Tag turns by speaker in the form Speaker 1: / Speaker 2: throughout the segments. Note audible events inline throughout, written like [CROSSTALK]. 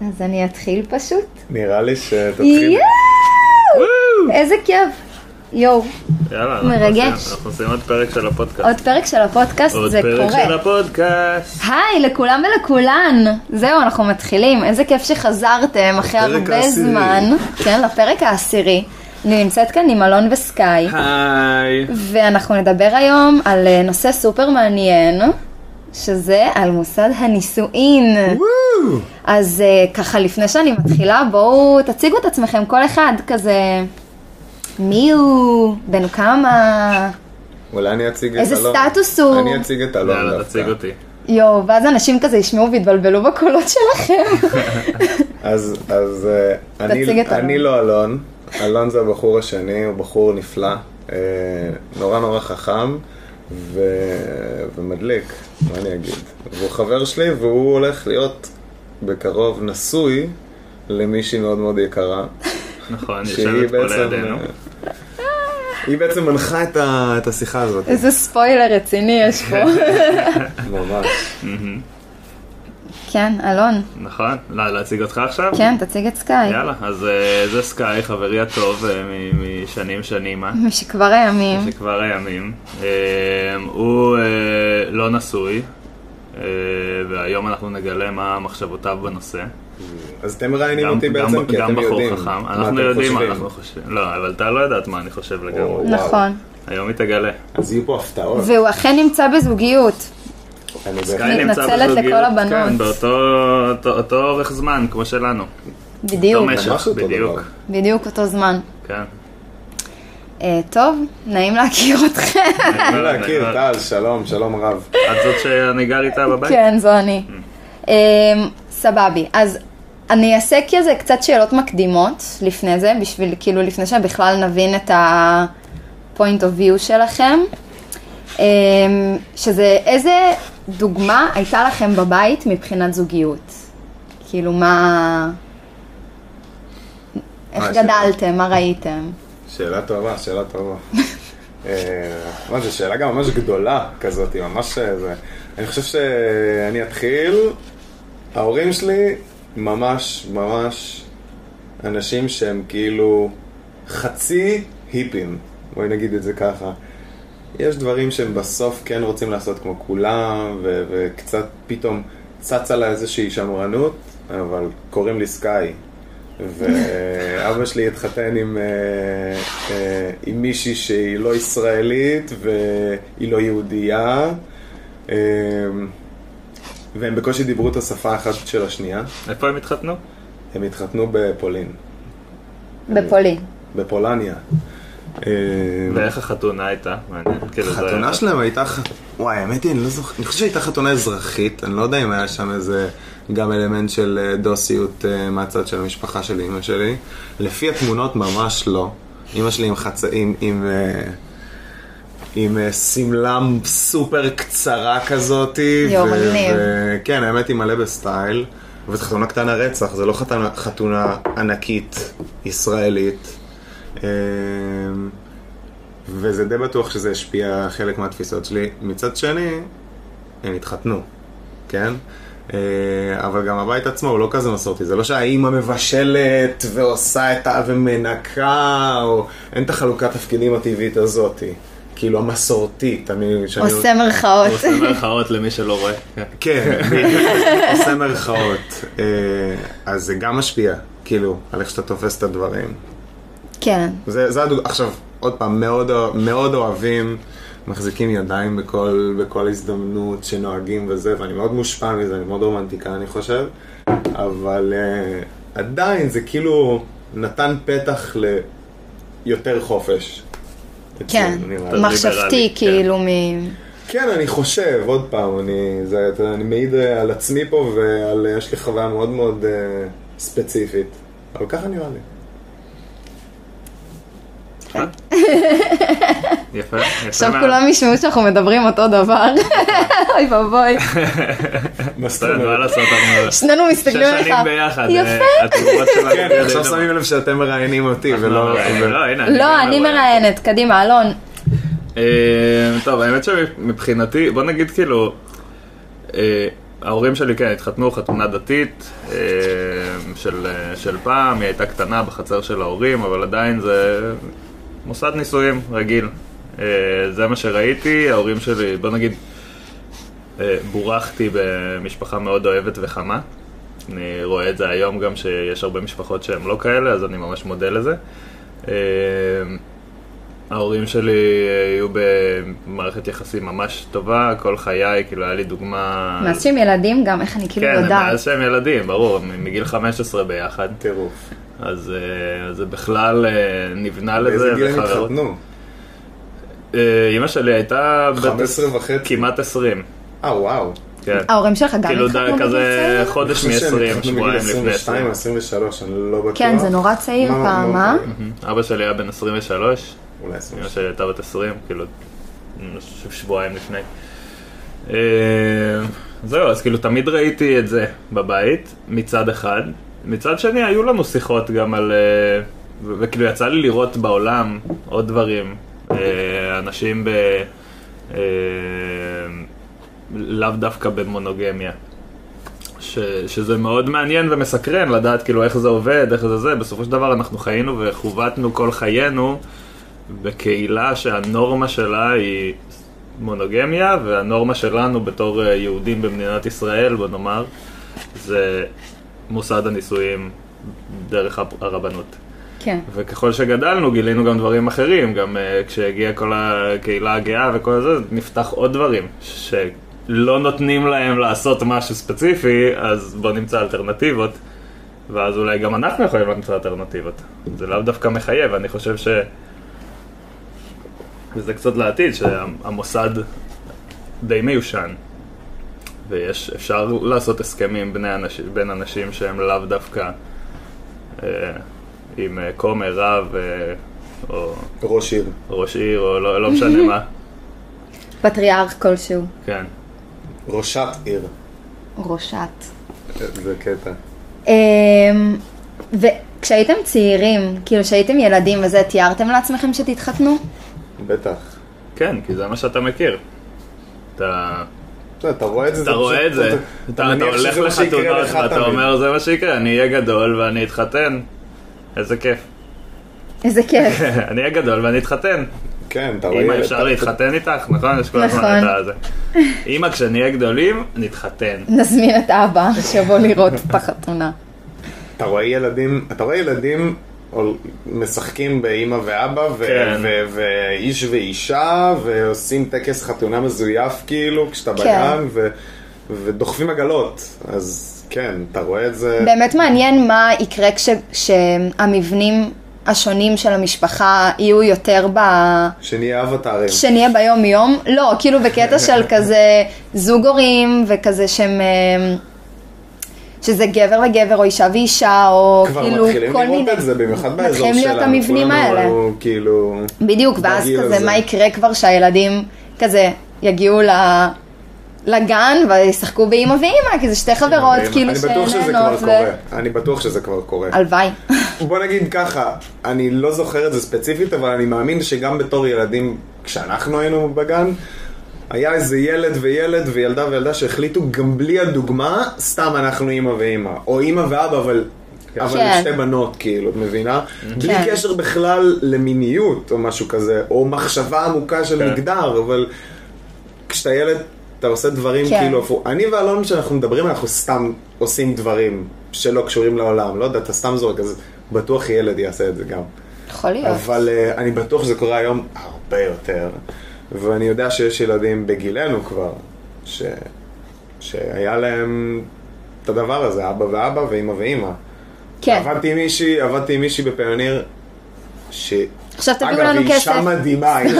Speaker 1: אז אני אתחיל פשוט.
Speaker 2: נראה לי שתתחיל.
Speaker 1: יואו! איזה כיף. יואו,
Speaker 3: יאללה, אנחנו
Speaker 1: מרגש.
Speaker 3: עושים- אנחנו עושים עוד פרק של הפודקאסט.
Speaker 1: עוד פרק של הפודקאסט,
Speaker 3: עוד
Speaker 1: זה
Speaker 3: פרק של
Speaker 1: קורה.
Speaker 3: הפודקאסט.
Speaker 1: היי לכולם ולכולן, זהו אנחנו מתחילים, איזה כיף שחזרתם אחרי
Speaker 2: לפרק
Speaker 1: הרבה
Speaker 2: העשירי.
Speaker 1: זמן, כן לפרק העשירי, אני נמצאת כאן עם אלון וסקאי,
Speaker 3: היי.
Speaker 1: ואנחנו נדבר היום על אה, נושא סופר מעניין, שזה על מוסד הנישואין.
Speaker 2: וואו!
Speaker 1: אז אה, ככה לפני שאני מתחילה, בואו תציגו את עצמכם כל אחד, כזה מי הוא, בן כמה,
Speaker 2: אולי אני אציג את אלון.
Speaker 1: איזה סטטוס הוא?
Speaker 2: אני אציג את אלון דווקא.
Speaker 3: יאללה, תציג אותי.
Speaker 1: יואו, ואז אנשים כזה ישמעו ויתבלבלו בקולות שלכם. [LAUGHS]
Speaker 2: אז, אז אה,
Speaker 1: תציג
Speaker 2: אני,
Speaker 1: את אלון.
Speaker 2: אני לא אלון, אלון זה הבחור השני, הוא בחור נפלא, אה, נורא נורא חכם ו... ומדליק, מה אני אגיד. והוא חבר שלי והוא הולך להיות בקרוב נשוי למישהי מאוד מאוד יקרה.
Speaker 3: נכון, יושבת פה לידינו.
Speaker 2: אה, היא בעצם מנחה את, ה... את השיחה הזאת,
Speaker 1: איזה ספוילר רציני יש פה.
Speaker 2: ממש.
Speaker 3: מהמם.
Speaker 1: כן, אלון,
Speaker 3: נכון? לא, להציג אותך עכשיו?
Speaker 1: כן, תציג את סקאי.
Speaker 3: יאללה, אז אה, זה סקאי, חברי הטוב אה, מ- משנים שנימה.
Speaker 1: משכבר הימים.
Speaker 3: שכבר הימים. אה, הוא אה, לא נשוי, אה, והיום אנחנו נגלה מה מחשבותיו בנושא.
Speaker 2: אז אתם מראיינים
Speaker 3: גם-
Speaker 2: אותי
Speaker 3: גם-
Speaker 2: בעצם, כי
Speaker 3: גם
Speaker 2: אתם
Speaker 3: בחור
Speaker 2: יודעים
Speaker 3: חכם.
Speaker 2: מה
Speaker 3: אנחנו
Speaker 2: אתם
Speaker 3: יודעים מה
Speaker 2: חושבים.
Speaker 3: אנחנו חושבים. לא, אבל אתה לא יודעת מה אני חושב
Speaker 2: או,
Speaker 3: לגמרי.
Speaker 2: וואו.
Speaker 1: נכון.
Speaker 3: היום היא תגלה.
Speaker 2: אז יהיו פה הפתעות.
Speaker 1: והוא אכן נמצא בזוגיות.
Speaker 2: אני
Speaker 3: סקאי
Speaker 2: בהחלט-
Speaker 3: נמצא
Speaker 1: מתנצלת
Speaker 3: בזוגיות,
Speaker 1: לכל הבנות.
Speaker 3: כן, באותו אותו- אותו אורך זמן כמו שלנו.
Speaker 1: בדיוק,
Speaker 3: דומה.
Speaker 2: ממש אותו
Speaker 3: בדיוק.
Speaker 2: דבר.
Speaker 1: בדיוק אותו זמן.
Speaker 3: כן.
Speaker 1: אה, טוב, נעים להכיר אתכם.
Speaker 2: אני להכיר, טל, שלום, שלום רב.
Speaker 3: את זאת שאני גר איתה בבית?
Speaker 1: כן, זו אני. אמ, סבבי. אז אני אעשה כזה קצת שאלות מקדימות לפני זה, בשביל, כאילו, לפני שבכלל נבין את ה-point of view שלכם. אמ, שזה, איזה דוגמה הייתה לכם בבית מבחינת זוגיות? כאילו, מה... איך
Speaker 2: מה השאלה?
Speaker 1: גדלתם? מה ראיתם?
Speaker 2: שאלה טובה, שאלה טובה. אה, מה זה, שאלה גם ממש גדולה כזאת, היא ממש... אה, זה- אני חושב שאני אתחיל. ההורים שלי ממש ממש אנשים שהם כאילו חצי היפים, בואי נגיד את זה ככה. יש דברים שהם בסוף כן רוצים לעשות כמו כולם, ו- וקצת פתאום צצה לה איזושהי שמרנות, אבל קוראים לי סקאי. ואבא שלי התחתן עם, אה, אה, עם מישהי שהיא לא ישראלית והיא לא יהודייה, אה, והם בקושי דיברו את השפה האחת של השנייה.
Speaker 3: איפה הם התחתנו?
Speaker 2: הם התחתנו בפולין,
Speaker 1: בפולין.
Speaker 2: בפולניה. אה,
Speaker 3: ואיך החתונה הייתה? מעניין. כאילו, זה-
Speaker 2: החתונה שלהם הייתה, ח- וואי, האמת היא, אני לא זוכר, אני חושב שהייתה חתונה אזרחית, אני לא יודע אם היה שם איזה גם אלמנט של אה, דוסיות אה, מהצד של המשפחה של אימא שלי. לפי התמונות ממש לא. אימא שלי עם חצאים, עם... אה, עם אה, שמלה סופר קצרה כזאתי.
Speaker 1: יואו,
Speaker 2: ו-
Speaker 1: מגניב.
Speaker 2: ו- כן, האמת היא מלא בסטייל. וזו חתונה קטנה רצח, זה לא חתונה, חתונה ענקית ישראלית. אה, וזה די בטוח שזה השפיע חלק מהתפיסות שלי. מצד שני, הם התחתנו, כן? אה, אבל גם הבית עצמו הוא לא כזה מסורתי, זה לא שהאימא מבשלת ועושה את ה... ומנקה, או אין את החלוקת תפקידים הטבעית הזאתי. כאילו המסורתית, אני... שאני-
Speaker 1: עושה
Speaker 3: הוא [LAUGHS]
Speaker 1: מירכאות.
Speaker 3: עושה מירכאות למי שלא רואה. כן.
Speaker 2: כן, בדיוק. עושה מירכאות. אה, אז זה גם משפיע, כאילו, על איך שאתה תופס את הדברים.
Speaker 1: כן.
Speaker 2: זה, זה הדוג... עכשיו, עוד פעם, מאוד, אוה- מאוד אוהבים, מחזיקים ידיים בכל, בכל הזדמנות שנוהגים וזה, ואני מאוד מושפע מזה, אני מאוד רומנטיקה, אני חושב, אבל uh, עדיין זה כאילו נתן פתח ליותר חופש.
Speaker 1: כן.
Speaker 2: אצלי, נראה לי.
Speaker 1: מחשבתי,
Speaker 3: ליברלי, כן.
Speaker 1: כאילו, מ...
Speaker 2: כן, אני חושב, עוד פעם, אני, זה, אתה- אני מעיד אה, על עצמי פה ועל, אה, יש לי חוויה מאוד מאוד אה, ספציפית, אבל ככה נראה לי. כן.
Speaker 3: [LAUGHS] יפה, יפה
Speaker 1: עכשיו
Speaker 3: מאוד.
Speaker 1: כולם ישמעו שאנחנו מדברים אותו
Speaker 3: [LAUGHS]
Speaker 1: דבר. אוי ואבוי.
Speaker 2: מה זאת
Speaker 3: אתה יודע, מה
Speaker 2: אומרת?
Speaker 3: לעשות, אנחנו
Speaker 1: שנינו
Speaker 3: שש
Speaker 1: מסתכלים עליך.
Speaker 3: שנים ביחד.
Speaker 1: יפה.
Speaker 3: אה, התגובות שלנו
Speaker 2: כן,
Speaker 3: די
Speaker 2: עכשיו
Speaker 3: דומות.
Speaker 2: שמים לב שאתם מראיינים אותי ולא...
Speaker 3: לא, הנה,
Speaker 2: ו-
Speaker 3: הנה,
Speaker 1: לא,
Speaker 3: גם
Speaker 1: אני
Speaker 3: רואה.
Speaker 1: מראיינת. קדימה, אלון.
Speaker 3: אה, טוב, האמת שמבחינתי, בוא נגיד כאילו, אה, ההורים שלי, כן, התחתנו חתונה דתית אה, של, אה, של פעם, היא הייתה קטנה בחצר של ההורים, אבל עדיין זה מוסד נישואים רגיל. אה, זה מה שראיתי, ההורים שלי, בוא נגיד, אה, בורחתי במשפחה מאוד אוהבת וחמה. אני רואה את זה היום גם שיש הרבה משפחות שהן לא כאלה, אז אני ממש מודה לזה. אה, ההורים שלי היו במערכת יחסים ממש טובה, כל חיי, כאילו היה לי דוגמה...
Speaker 1: מאז שהם ילדים גם, איך אני כאילו
Speaker 3: אה. כן,
Speaker 1: יודעת.
Speaker 3: מאז שהם ילדים, ברור, הם מגיל 15 ביחד.
Speaker 2: טירוף.
Speaker 3: אז אה, זה בכלל אה, נבנה לזה.
Speaker 2: באיזה גיל הם
Speaker 3: וחברות-
Speaker 2: התחתנו?
Speaker 3: אה, אימא שלי הייתה... בת
Speaker 2: 15 וחצי.
Speaker 3: כמעט 20.
Speaker 2: אה, וואו.
Speaker 3: כן.
Speaker 1: ההורים שלך גם
Speaker 3: כאילו די
Speaker 1: התחתנו בגיל
Speaker 3: כזה
Speaker 1: צעיר?
Speaker 3: חודש מ-20, שבועיים לפני 20.
Speaker 2: 22, 23, אני לא בטוח. לא,
Speaker 1: כן, זה נורא צעיר
Speaker 2: מה-
Speaker 1: פעם,
Speaker 2: מה-
Speaker 1: אה?
Speaker 3: אבא שלי היה בן 23,
Speaker 2: אולי
Speaker 3: אמא
Speaker 2: 22.
Speaker 3: שלי הייתה בת 20, כאילו, אני חושב שבועיים לפני. אה, זהו, אז כאילו תמיד ראיתי את זה בבית, מצד אחד. מצד שני, היו לנו שיחות גם על... אה, ו- וכאילו יצא לי לראות בעולם עוד דברים. אה, אנשים ב... אה, לאו דווקא במונוגמיה. ש, שזה מאוד מעניין ומסקרן לדעת כאילו איך זה עובד, איך זה זה. בסופו של דבר אנחנו חיינו וחובטנו כל חיינו בקהילה שהנורמה שלה היא מונוגמיה, והנורמה שלנו בתור אה, יהודים במדינת ישראל, בוא נאמר, זה מוסד הנישואים דרך הפ- הרבנות.
Speaker 1: כן.
Speaker 3: וככל שגדלנו גילינו גם דברים אחרים, גם uh, כשהגיעה כל הקהילה הגאה וכל זה, נפתח עוד דברים, שלא נותנים להם לעשות משהו ספציפי, אז בוא נמצא אלטרנטיבות, ואז אולי גם אנחנו יכולים למצוא אלטרנטיבות. זה לאו דווקא מחייב, אני חושב ש... וזה קצת לעתיד, שהמוסד די מיושן. ויש, אפשר לעשות הסכמים בני אנש, בין אנשים שהם לאו דווקא אה, עם אה, כומר, רב, אה, או
Speaker 2: ראש עיר.
Speaker 3: ראש עיר, או לא, לא משנה מה.
Speaker 1: פטריארך כלשהו.
Speaker 3: כן.
Speaker 2: ראשת עיר.
Speaker 1: ראשת.
Speaker 2: זה קטע.
Speaker 1: אמ, וכשהייתם צעירים, כאילו כשהייתם ילדים וזה, תיארתם לעצמכם שתתחתנו?
Speaker 2: בטח.
Speaker 3: כן, כי זה מה שאתה מכיר. אתה,
Speaker 2: אתה יודע, אתה רואה את זה.
Speaker 3: אתה רואה את
Speaker 2: פשוט-
Speaker 3: זה, אתה, אתה
Speaker 2: מניח
Speaker 3: הולך
Speaker 2: שזה מה שיקרה
Speaker 3: לחתונות
Speaker 2: לך
Speaker 3: ואתה
Speaker 2: תמיד.
Speaker 3: אומר זה מה שיקרה, אני אהיה גדול ואני אתחתן. איזה כיף. [LAUGHS]
Speaker 1: איזה כיף.
Speaker 3: אני אהיה גדול ואני אתחתן.
Speaker 2: כן, אתה רואה...
Speaker 3: אמא,
Speaker 2: את-
Speaker 3: אפשר להתחתן איתך, נכון? יש כל הזמן
Speaker 1: נכון. [LAUGHS]
Speaker 3: את הזה. אמא, כשנהיה גדולים, [LAUGHS] נתחתן.
Speaker 1: נזמין את אבא שיבוא לראות בחתונה.
Speaker 2: אתה רואה ילדים, אתה רואה ילדים הול- משחקים באימא ואבא, ו-
Speaker 3: כן.
Speaker 2: ו- ואיש ואישה, ועושים טקס חתונה מזויף כאילו, כשאתה
Speaker 1: כן.
Speaker 2: בגן, ו- ודוחפים עגלות. אז כן, אתה רואה את זה.
Speaker 1: באמת מעניין מה יקרה כש, כשהמבנים השונים של המשפחה יהיו יותר ב...
Speaker 2: שנהיה אבטארים.
Speaker 1: שנהיה ביום יום, לא, כאילו בקטע
Speaker 2: [LAUGHS]
Speaker 1: של כזה זוג הורים וכזה שהם, אה, שזה גבר וגבר או אישה ואישה או
Speaker 2: כבר
Speaker 1: כאילו
Speaker 2: מתחילים
Speaker 1: כל מיני,
Speaker 2: לראות את זה, במיוחד באזור שלנו.
Speaker 1: מתחילים להיות המבנים
Speaker 2: כולנו
Speaker 1: האלה,
Speaker 2: היו, כאילו...
Speaker 1: בדיוק, ואז
Speaker 2: בגיל
Speaker 1: כזה
Speaker 2: הזה.
Speaker 1: מה יקרה כבר שהילדים כזה יגיעו ל... לגן וישחקו באימא ואימא, כי זה שתי חברות, כאילו
Speaker 2: אני בטוח שזה כבר
Speaker 1: שנהנות
Speaker 2: קורה. אני בטוח שזה כבר קורה.
Speaker 1: הלוואי.
Speaker 2: בוא נגיד ככה, אני לא זוכר את זה ספציפית, אבל אני מאמין שגם בתור ילדים, כשאנחנו היינו בגן, היה איזה ילד וילד וילדה וילדה שהחליטו גם בלי הדוגמה, סתם אנחנו אימא ואימא. או אימא ואבא, אבל...
Speaker 1: כן.
Speaker 2: אבל כן. שתי בנות, כאילו, את מבינה? בלי
Speaker 1: כן.
Speaker 2: קשר בכלל למיניות או משהו כזה, או מחשבה עמוקה של
Speaker 3: כן.
Speaker 2: מגדר, אבל כשאתה ילד, אתה עושה דברים
Speaker 1: כן.
Speaker 2: כאילו הפוך. אני ואלון, כשאנחנו מדברים, אנחנו סתם עושים דברים שלא קשורים לעולם. לא יודע, אתה סתם זורק, אז בטוח ילד יעשה את זה גם.
Speaker 1: יכול להיות.
Speaker 2: אבל uh, אני בטוח שזה קורה היום הרבה יותר, ואני יודע שיש ילדים בגילנו כבר, ש... שהיה להם את הדבר הזה, אבא ואבא ואימא ואימא.
Speaker 1: כן.
Speaker 2: עבדתי עם מישהי, עבדתי עם מישהי בפיוניר, ש...
Speaker 1: עכשיו תביאו
Speaker 2: אגב,
Speaker 1: לנו
Speaker 2: היא
Speaker 1: כסף.
Speaker 2: אישה
Speaker 1: [LAUGHS]
Speaker 2: מדהימה, היא-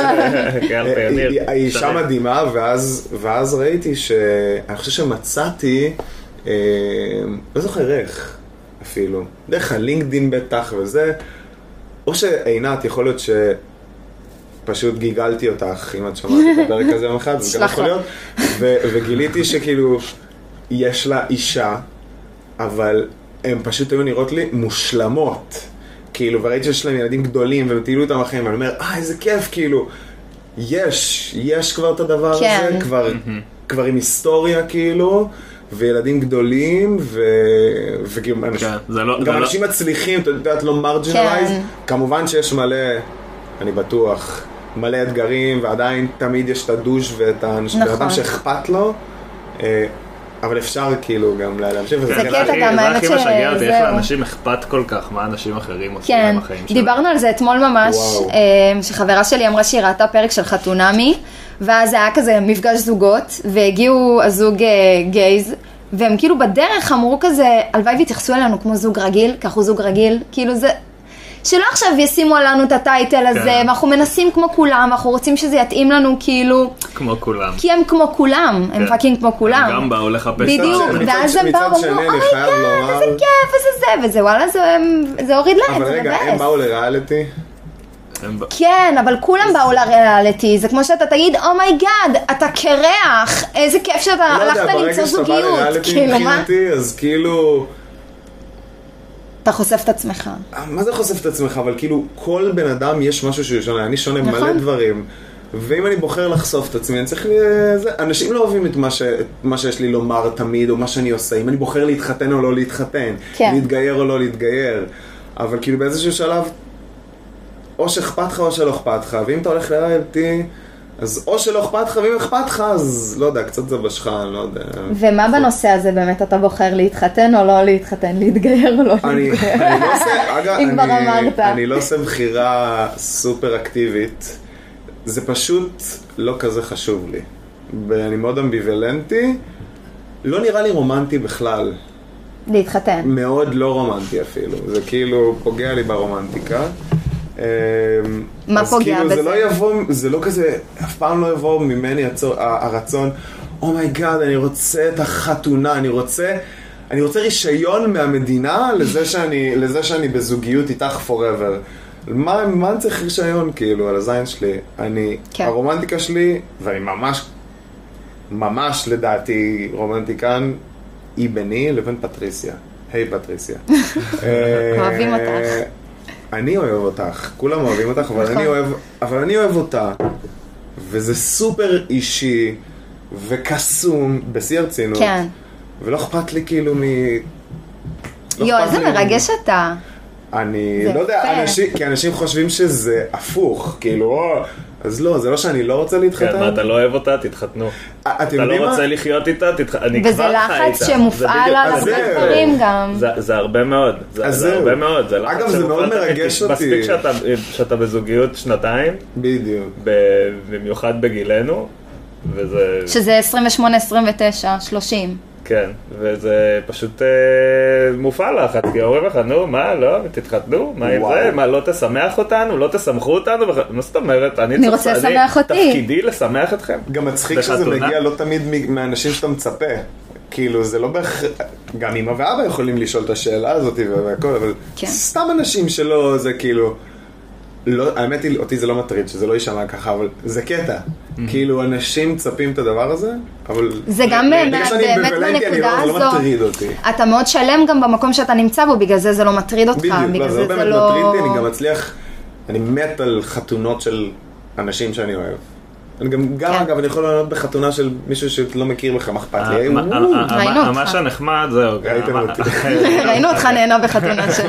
Speaker 3: כן, פיוניר.
Speaker 2: היא- היא אישה
Speaker 3: צריך.
Speaker 2: אה, מדהימה, ואז, ואז ראיתי ש... אני חושב שמצאתי, אה, לא זוכר איך אפילו, דרך הלינקדין בטח וזה, או שעינת, יכול להיות שפשוט גיגלתי אותך, אם את שומעת את הפרק הזה יום אחד, זה גם
Speaker 1: שלח
Speaker 2: יכול
Speaker 1: לה.
Speaker 2: להיות, ו- וגיליתי שכאילו, יש לה אישה, אבל הן פשוט היו נראות לי מושלמות. כאילו, וראיתי שיש להם ילדים גדולים, והם טיילו איתם אחרים, ואני אומר, אה, איזה כיף, כאילו, יש, יש כבר את הדבר
Speaker 1: כן.
Speaker 2: הזה, כבר, כבר עם היסטוריה, כאילו, וילדים גדולים, ו... וגם אנשים,
Speaker 3: כן, זה לא-
Speaker 2: גם
Speaker 3: זה לא-
Speaker 2: אנשים מצליחים, את יודעת, לא מרג'ינלייז.
Speaker 1: כן.
Speaker 2: כמובן שיש מלא, אני בטוח, מלא אתגרים, ועדיין תמיד יש את הדוש ואת האנשים,
Speaker 1: נכון.
Speaker 2: נכון. שאכפת לו, אה, אבל אפשר כאילו גם לה- להמשיך. וזה
Speaker 1: זה
Speaker 2: כן,
Speaker 1: קטע,
Speaker 3: הכי-
Speaker 1: גם האמת
Speaker 3: זה הכי משגע אותי, איך
Speaker 1: שזהו.
Speaker 3: לאנשים אכפת כל כך מה אנשים אחרים עושים
Speaker 1: כן,
Speaker 3: עם החיים שלהם.
Speaker 1: דיברנו על זה אתמול ממש,
Speaker 2: וואו.
Speaker 1: אמ, שחברה שלי אמרה שהיא ראתה פרק של חתונמי, ואז היה כזה מפגש זוגות, והגיעו הזוג אה, גייז, והם כאילו בדרך אמרו כזה, הלוואי ויתייחסו אלינו כמו זוג רגיל, כי אנחנו זוג רגיל, כאילו זה... שלא עכשיו ישימו עלינו את הטייטל הזה,
Speaker 3: כן.
Speaker 1: ואנחנו מנסים כמו כולם, אנחנו רוצים שזה יתאים לנו כאילו,
Speaker 3: כמו כולם.
Speaker 1: כי הם כמו כולם, הם
Speaker 3: כן.
Speaker 1: פאקינג כמו כולם.
Speaker 3: גם באו לחפש את
Speaker 1: בדיוק,
Speaker 2: מצד
Speaker 3: זה.
Speaker 1: ואז
Speaker 2: שני-
Speaker 1: הם באו
Speaker 2: מצד שני,
Speaker 1: ואמרו,
Speaker 2: אני חייב
Speaker 1: אוי, כן,
Speaker 2: לומר-
Speaker 1: איזה כיף, וזה זה, וזה וואלה, זה זה הוריד להם,
Speaker 2: אבל
Speaker 1: זה
Speaker 2: רגע,
Speaker 1: מבאס. אה,
Speaker 2: הם באו לריאליטי,
Speaker 3: הם באו-
Speaker 1: כן, אבל כולם באו לריאליטי, זה כמו שאתה תגיד, אומייגאד, אתה קרח, איזה כיף שאתה
Speaker 2: לא יודע,
Speaker 1: הלכת למצוא
Speaker 2: ברגע שאתה בא
Speaker 1: זוגיות,
Speaker 2: לריאליטי
Speaker 1: כאילו מה?
Speaker 2: מבחינתי, אז כאילו...
Speaker 1: אתה חושף את עצמך.
Speaker 2: מה זה חושף את עצמך? אבל כאילו, כל בן אדם יש משהו שהוא שונה, אני שונה
Speaker 1: נכון.
Speaker 2: מלא דברים. ואם אני בוחר לחשוף את עצמי, אני צריך... ל- זה, אנשים לא אוהבים את מה, ש... את מה שיש לי לומר תמיד, או מה שאני עושה, אם אני בוחר להתחתן או לא להתחתן,
Speaker 1: כן.
Speaker 2: להתגייר או לא להתגייר. אבל כאילו באיזשהו שלב, או שאכפת לך או שלא אכפת לך, ואם אתה הולך לריאליטי, אז או שלא אכפת לך, ואם אכפת לך, אז לא יודע, קצת זה בשך, אני לא יודע.
Speaker 1: ומה בנושא הזה באמת אתה בוחר להתחתן או לא להתחתן, להתגייר או לא
Speaker 2: אני,
Speaker 1: להתגייר?
Speaker 2: אני לא
Speaker 1: [LAUGHS]
Speaker 2: עושה, אגב,
Speaker 1: אם כבר
Speaker 2: אני,
Speaker 1: אמרת.
Speaker 2: אני לא עושה בחירה סופר אקטיבית. זה פשוט לא כזה חשוב לי. ואני מאוד אמביוולנטי. לא נראה לי רומנטי בכלל.
Speaker 1: להתחתן.
Speaker 2: מאוד לא רומנטי אפילו. זה כאילו פוגע לי ברומנטיקה. אמ,
Speaker 1: מה
Speaker 2: אז
Speaker 1: פוגע
Speaker 2: כאילו,
Speaker 1: בזה?
Speaker 2: זה לא יבוא, זה לא כזה, אף פעם לא יבוא ממני הצור, ה- הרצון, אומייגאד, oh my God, אני רוצה את החתונה, אני רוצה, אני רוצה רישיון מהמדינה לזה שאני, לזה שאני בזוגיות איתך forever. מה, מה אני צריך רישיון, כאילו, על הזין שלי? אני,
Speaker 1: כן.
Speaker 2: כן. הרומנטיקה שלי, ואני ממש, ממש לדעתי רומנטיקן, היא ביני לבין פטריסיה. היי פטריסיה. אה,
Speaker 1: [LAUGHS] אוהבים אותך.
Speaker 2: אני אוהב אותך, כולם אוהבים אותך, אבל
Speaker 1: נכון.
Speaker 2: אני אוהב, אבל אני אוהב אותה, וזה סופר אישי, וקסום, בשיא הרצינות,
Speaker 1: כן.
Speaker 2: ולא אכפת לי כאילו מ... לא
Speaker 1: יואו,
Speaker 2: אכפת
Speaker 1: איזה
Speaker 2: לי-
Speaker 1: מרגש אתה.
Speaker 2: אני
Speaker 1: זה
Speaker 2: לא יודע,
Speaker 1: יפה.
Speaker 2: אנשים, כי אנשים חושבים שזה הפוך, כאילו, "או", אז לא, זה לא שאני לא רוצה
Speaker 3: כן, מה,
Speaker 2: להתחתן. אה,
Speaker 3: אתה לא אוהב אותה? תתחתנו.
Speaker 2: אתם
Speaker 3: אתה
Speaker 2: יודעים
Speaker 3: לא
Speaker 2: מה?
Speaker 3: רוצה לחיות איתה? תתח- אני כבר חי
Speaker 1: וזה
Speaker 3: איתה.
Speaker 1: לחץ
Speaker 3: זה
Speaker 1: שמופעל
Speaker 3: בדיוק-
Speaker 1: על
Speaker 2: אז
Speaker 1: הרבה
Speaker 2: זהו.
Speaker 1: דברים גם.
Speaker 3: זה- זה הרבה מאוד, זה
Speaker 2: אז
Speaker 3: זה
Speaker 2: זהו.
Speaker 3: הרבה מאוד, זה לחץ
Speaker 2: אגב, זה מאוד
Speaker 3: שמופעל.
Speaker 2: מרגש
Speaker 3: מספיק
Speaker 2: אותי.
Speaker 3: שאתה- שאתה בזוגיות שנתיים,
Speaker 2: בדיוק.
Speaker 3: ב- במיוחד בגילנו, וזה...
Speaker 1: שזה 28, 29, 30.
Speaker 3: כן, וזה פשוט אה, מופעל לחץ, כי אומרים לך, נו, מה, לא, תתחתנו, מה עם
Speaker 2: וואו.
Speaker 3: זה, מה, לא תשמח אותנו, לא תשמחו אותנו, וכ- מה זאת אומרת, אני
Speaker 1: אני
Speaker 3: צריך-
Speaker 1: רוצה לשמח אותי.
Speaker 3: תפקידי לשמח אתכם.
Speaker 2: גם מצחיק שזה
Speaker 3: בחתונה?
Speaker 2: מגיע לא תמיד מ- מאנשים שאתה מצפה. כאילו, זה לא בהכרח... גם אמא ואבא יכולים לשאול את השאלה הזאת והכל, אבל
Speaker 1: כן.
Speaker 2: סתם אנשים שלא, זה כאילו... לא, האמת היא, אותי זה לא מטריד, שזה לא יישמע ככה, אבל זה קטע. כאילו, אנשים מצפים את הדבר הזה, אבל...
Speaker 1: זה גם
Speaker 2: בגלל
Speaker 1: באמת-
Speaker 2: שאני
Speaker 1: באמת
Speaker 2: אמביוולנטי, אני
Speaker 1: בנקודה
Speaker 2: לא- זה
Speaker 1: הזו.
Speaker 2: לא מטריד אותי.
Speaker 1: אתה מאוד שלם גם במקום שאתה נמצא בו, בגלל זה זה לא מטריד אותך.
Speaker 2: בדיוק,
Speaker 1: בגלל
Speaker 2: לא, זה לא באמת
Speaker 1: לא-
Speaker 2: מטריד אותי, אני גם מצליח, אני מת על חתונות של אנשים שאני אוהב. אני גם, גם
Speaker 1: כן.
Speaker 2: אגב, אני יכול לענות בחתונה של מישהו שלא מכיר בכלל, מה אכפת לי? אה,
Speaker 3: המ-
Speaker 2: וואו.
Speaker 3: המ-
Speaker 1: ראינו אותך.
Speaker 3: אה, מה שנחמד, זהו. אה,
Speaker 2: ראיתם
Speaker 3: מה-
Speaker 1: [LAUGHS]
Speaker 3: [LAUGHS]
Speaker 2: אותי.
Speaker 1: ראינו אותך נהנה בחתונה של...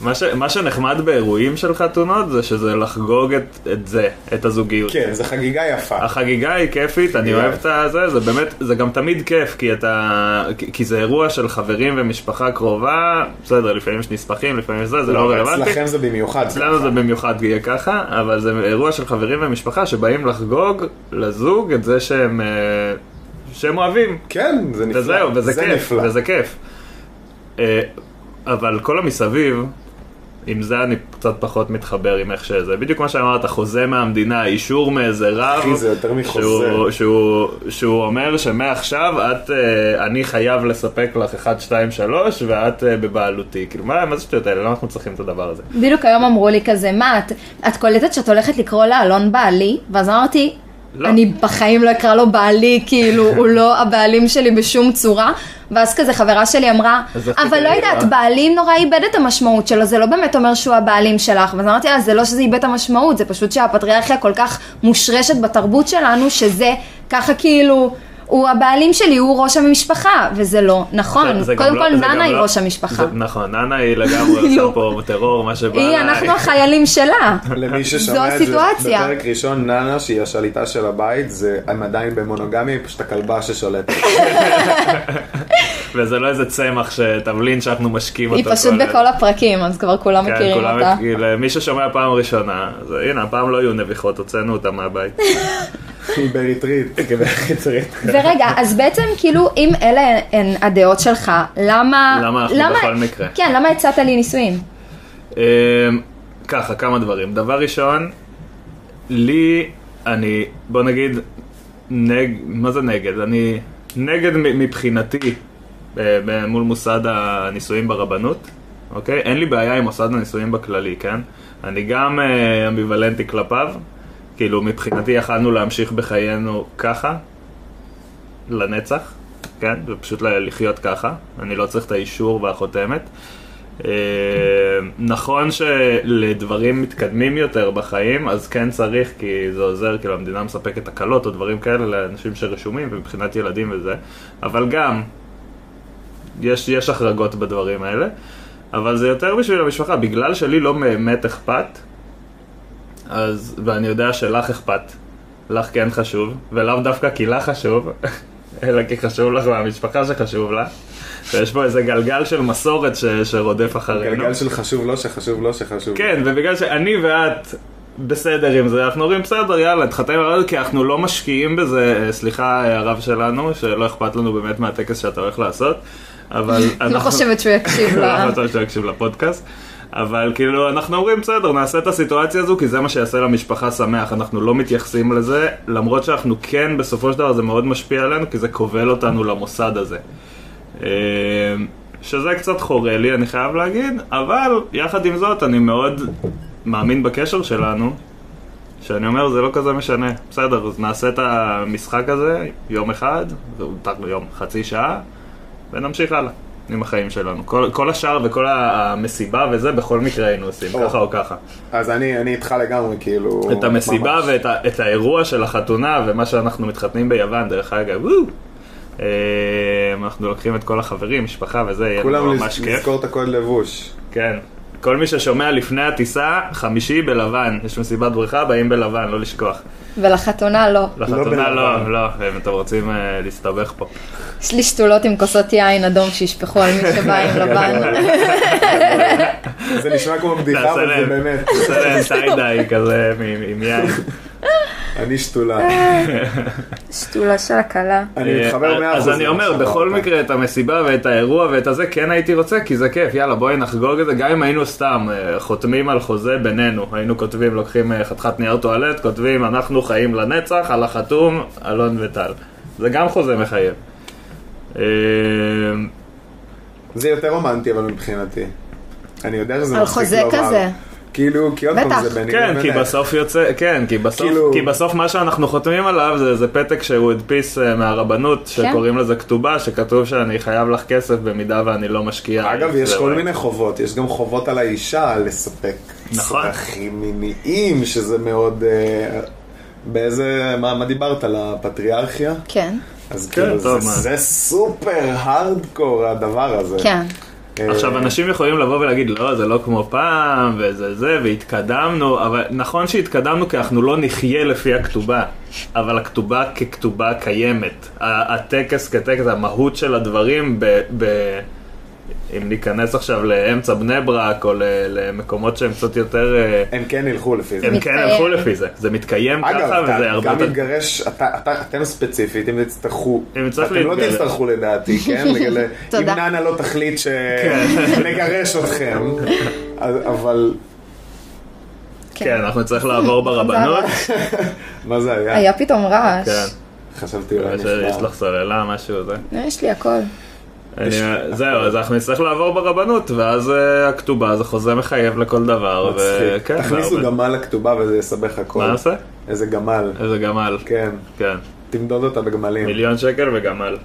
Speaker 3: מה ש- מה שנחמד באירועים של חתונות זה שזה לחגוג את- את זה, את הזוגיות.
Speaker 2: כן, זו חגיגה יפה.
Speaker 3: החגיגה היא כיפית, אני
Speaker 2: חגיגה.
Speaker 3: אוהב את הזה, זה באמת, זה גם תמיד כיף, כי אתה, כי- כי זה אירוע של חברים ומשפחה קרובה, בסדר, לפעמים יש נספחים, לפעמים זה, זה לא
Speaker 2: אבל
Speaker 3: רלוונטי.
Speaker 2: אצלכם זה במיוחד.
Speaker 3: אצלנו זה לא- במיוחד יהיה ככה, אבל זה אירוע של חברים ומשפחה שבאים לחגוג לזוג את זה שהם, אה, שהם אוהבים,
Speaker 2: כן, זה נפלא.
Speaker 3: וזהו, וזה
Speaker 2: זה
Speaker 3: כיף,
Speaker 2: נפלא.
Speaker 3: וזה כיף. אה, אבל כל המסביב, עם זה אני קצת פחות מתחבר עם איך שזה. בדיוק מה שאמרת, חוזה מהמדינה, אישור מאיזה רב.
Speaker 2: אחי, זה יותר מחוזה.
Speaker 3: שהוא, שהוא, שהוא אומר שמעכשיו את, אה, אני חייב לספק לך 1, 2, 3 ואת אה, בבעלותי. כאילו, מה, מה זה שטויות האלה? למה אנחנו צריכים את הדבר הזה?
Speaker 1: בדיוק היום אמרו לי כזה, מה, את, את קולטת שאת הולכת לקרוא לאלון בעלי? ואז אמרתי,
Speaker 3: לא.
Speaker 1: אני בחיים לא אקרא לו בעלי, כאילו, הוא לא הבעלים שלי בשום צורה. ואז כזה חברה שלי אמרה,
Speaker 3: אז איך
Speaker 1: אבל לא
Speaker 3: תקראי
Speaker 1: יודעת,
Speaker 3: לה?"
Speaker 1: בעלי נורא איבד את המשמעות שלו, זה לא באמת אומר שהוא הבעלים שלך. ואז אמרתי לה, זה לא שזה איבד את המשמעות, זה פשוט שהפטריארכיה כל כך מושרשת בתרבות שלנו, שזה ככה כאילו... הוא- הוא הבעלים שלי, הוא ראש המשפחה, וזה לא נכון.
Speaker 3: זה גם
Speaker 1: קודם
Speaker 3: לא-
Speaker 1: כל,
Speaker 3: זה גם
Speaker 1: ננה היא
Speaker 3: לא-
Speaker 1: ראש המשפחה.
Speaker 3: זה- נכון, ננה
Speaker 1: [LAUGHS]
Speaker 3: היא לגמרי
Speaker 1: כאילו.
Speaker 3: עושה פה טרור, מה שבא
Speaker 1: היא,
Speaker 3: לה.
Speaker 1: אנחנו החיילים שלה.
Speaker 3: [LAUGHS] אה,
Speaker 2: למי
Speaker 1: זו
Speaker 2: ששמע את זה
Speaker 1: הסיטואציה.
Speaker 2: בפרק ראשון, ננה, שהיא השליטה של הבית, זה הם עדיין במונוגמי, היא פשוט הכלבה ששולטת.
Speaker 3: וזה לא איזה צמח, ש- תבלין שאנחנו משקים
Speaker 1: היא
Speaker 3: אותו.
Speaker 1: פשוט בכל הפרקים, אז כבר כולם
Speaker 3: כן,
Speaker 1: מכירים
Speaker 3: כולם
Speaker 1: אותה.
Speaker 3: מכירים. מי ששומע פעם ראשונה, אז הנה, הפעם לא יהיו נביחות, הוצאנו אותה מהבית.
Speaker 2: היא בריטריט.
Speaker 3: כן,
Speaker 1: ורגע, אז בעצם כאילו, אם אלה הן הדעות שלך, למה...
Speaker 3: למה אנחנו בכל מקרה?
Speaker 1: כן, למה הצעת לי נישואים?
Speaker 3: אמ, ככה, כמה דברים. דבר ראשון, לי, אני, בוא נגיד, נג, מה זה נגד? אני נגד מ- מבחינתי אה, ב- מול מוסד הנישואים ברבנות, אוקיי? אין לי בעיה עם מוסד הנישואים בכללי, כן? אני גם אה, אמביוולנטי כלפיו, כאילו מבחינתי יכלנו להמשיך בחיינו ככה, לנצח, כן? ופשוט ל- לחיות ככה, אני לא צריך את האישור והחותמת. אה, נכון שלדברים מתקדמים יותר בחיים, אז כן צריך, כי זה עוזר, כאילו המדינה מספקת הקלות או דברים כאלה לאנשים שרשומים, ומבחינת ילדים וזה, אבל גם, יש, יש החרגות בדברים האלה, אבל זה יותר בשביל המשפחה, בגלל שלי לא באמת אכפת, אז, ואני יודע שלך אכפת, לך כן חשוב, ולאו דווקא כי לך חשוב, [LAUGHS] אלא כי חשוב לך והמשפחה שחשוב לך. ויש פה איזה גלגל של מסורת ש, שרודף אחרינו.
Speaker 2: גלגל של חשוב לא שחשוב לא שחשוב.
Speaker 3: כן, ובגלל שאני ואת בסדר עם זה, אנחנו אומרים בסדר, יאללה, תחתן על כי אנחנו לא משקיעים בזה, אה, סליחה אה, הרב שלנו, שלא אכפת לנו באמת מהטקס שאתה הולך לעשות, אבל אנחנו...
Speaker 1: לא חושבת שהוא יקשיב
Speaker 3: [LAUGHS] לא
Speaker 1: לה.
Speaker 3: חושבת שהוא יקשיב לפודקאסט. אבל כאילו אנחנו אומרים בסדר נעשה את הסיטואציה הזו כי זה מה שיעשה למשפחה שמח אנחנו לא מתייחסים לזה למרות שאנחנו כן בסופו של דבר זה מאוד משפיע עלינו כי זה כובל אותנו למוסד הזה. אה, שזה קצת חורה לי, אני חייב להגיד, אבל יחד עם זאת, אני מאוד מאמין בקשר שלנו, שאני אומר, זה לא כזה משנה. בסדר, אז נעשה את המשחק הזה יום אחד, זה הותר ליום חצי שעה, ונמשיך הלאה עם החיים שלנו. כל, כל השאר וכל המסיבה וזה, בכל מקרה היינו עושים,
Speaker 2: או.
Speaker 3: ככה או ככה.
Speaker 2: אז אני אני איתך לגמרי, כאילו...
Speaker 3: את המסיבה
Speaker 2: ממש.
Speaker 3: ואת ה, את האירוע של החתונה ומה שאנחנו מתחתנים ביוון, דרך אגב, וואו. אה, אנחנו לוקחים את כל החברים, משפחה וזה, יהיה לנו
Speaker 2: כולם
Speaker 3: לא, ממש
Speaker 2: לז-
Speaker 3: כיף.
Speaker 2: לזכור את הקוד לבוש.
Speaker 3: כן. כל מי ששומע לפני הטיסה, חמישי בלבן. יש מסיבת בריכה, באים בלבן, לא לשכוח.
Speaker 1: ולחתונה לא.
Speaker 3: לחתונה
Speaker 2: בלבן.
Speaker 3: לא, לא, אם אתם רוצים אה, להסתבך פה.
Speaker 1: יש לי שתולות עם כוסות יין אדום שישפכו על מי שבא
Speaker 3: [LAUGHS]
Speaker 1: עם לבן.
Speaker 2: זה נשמע כמו בדיחה,
Speaker 3: תעשה
Speaker 2: אבל [LAUGHS] זה
Speaker 3: להם,
Speaker 2: באמת.
Speaker 3: תעשה להם טיידיי כזה עם- עם יין.
Speaker 2: אני שתולה.
Speaker 1: שתולה של הכלה.
Speaker 2: אני מתחבר
Speaker 3: אה,
Speaker 2: מאה
Speaker 3: אז
Speaker 2: אחוז.
Speaker 3: אני אומר, בכל מקרה, את המסיבה ואת האירוע ואת הזה, כן הייתי רוצה, כי זה כיף, יאללה, בואי נחגוג את זה, גם אם היינו סתם אה, חותמים על חוזה בינינו, היינו כותבים, לוקחים אה, חתיכת נייר טואלט, כותבים, אנחנו חיים לנצח, על החתום, אלון וטל. זה גם חוזה מחייב. אה,
Speaker 2: זה יותר רומנטי, אבל מבחינתי. אני יודע שזה
Speaker 1: על
Speaker 2: מצחיק
Speaker 1: חוזה
Speaker 2: לומר.
Speaker 1: כזה.
Speaker 2: כאילו, כי עוד
Speaker 1: בטח.
Speaker 2: פעם זה ביני
Speaker 3: כן, כי
Speaker 2: לבינך.
Speaker 3: בסוף יוצא, כן, כי בסוף,
Speaker 2: כאילו-
Speaker 3: כי בסוף מה שאנחנו חותמים עליו זה איזה פתק שהוא הדפיס אה, מהרבנות, שקוראים לזה כתובה, שכתוב שאני חייב לך כסף במידה ואני לא משקיע.
Speaker 2: אגב, יש
Speaker 3: זה
Speaker 2: כל
Speaker 3: רק-
Speaker 2: מיני חובות, יש גם חובות על האישה לספק
Speaker 3: נכון.
Speaker 2: צרכים מיניים, שזה מאוד... אה, באיזה... מה מה דיברת? על הפטריארכיה?
Speaker 1: כן,
Speaker 2: אז
Speaker 3: כן,
Speaker 2: כאילו, זה-
Speaker 3: טוב, מה.
Speaker 2: זה סופר הארדקור הדבר הזה.
Speaker 1: כן.
Speaker 2: אה,
Speaker 3: עכשיו, אנשים יכולים לבוא ולהגיד, לא, זה לא כמו פעם, וזה זה, והתקדמנו, אבל נכון שהתקדמנו כי אנחנו לא נחיה לפי הכתובה, אבל הכתובה ככתובה קיימת. ה- הטקס כטקס, המהות של הדברים, ב... ב- אם ניכנס עכשיו לאמצע בני ברק, או ל- למקומות שהם קצת יותר... אה,
Speaker 2: הם כן ילכו לפי זה.
Speaker 3: הם כן
Speaker 1: מתקיים.
Speaker 3: הלכו לפי זה, זה מתקיים
Speaker 2: אגב,
Speaker 3: ככה, וזה
Speaker 2: אתה
Speaker 3: הרבה
Speaker 2: גם
Speaker 3: יותר...
Speaker 2: מתגרש, אתה- אתה- אתם ספציפית, אם תצטרכו,
Speaker 3: אם צריך
Speaker 2: אתם לא
Speaker 3: להתגרש.
Speaker 2: תצטרכו
Speaker 3: [LAUGHS]
Speaker 2: לדעתי, כן? לגלל- אם
Speaker 1: תודה.
Speaker 2: ננה לא תחליט
Speaker 3: כן.
Speaker 2: [LAUGHS] שנגרש אתכם, אז- אבל
Speaker 3: כן, אנחנו נצטרך לעבור ברבנות.
Speaker 2: מה זה היה?
Speaker 1: היה פתאום רעש.
Speaker 3: כן,
Speaker 2: חשבתי אולי
Speaker 3: יש
Speaker 2: נפלא.
Speaker 3: לך סוללה, משהו, זה.
Speaker 1: לא, יש לי הכל.
Speaker 3: אני- זהו, אז אנחנו נצטרך לעבור ברבנות, ואז אה, הכתובה זה חוזה מחייב לכל דבר. ו-
Speaker 2: מצחיק.
Speaker 3: כן,
Speaker 2: תכניסו
Speaker 3: והרבה-
Speaker 2: גמל לכתובה וזה יסבך הכל.
Speaker 3: מה נעשה?
Speaker 2: איזה גמל,
Speaker 3: איזה גמל.
Speaker 2: כן.
Speaker 3: כן.
Speaker 2: תמדוד אותה בגמלים.
Speaker 3: מיליון שקל וגמל.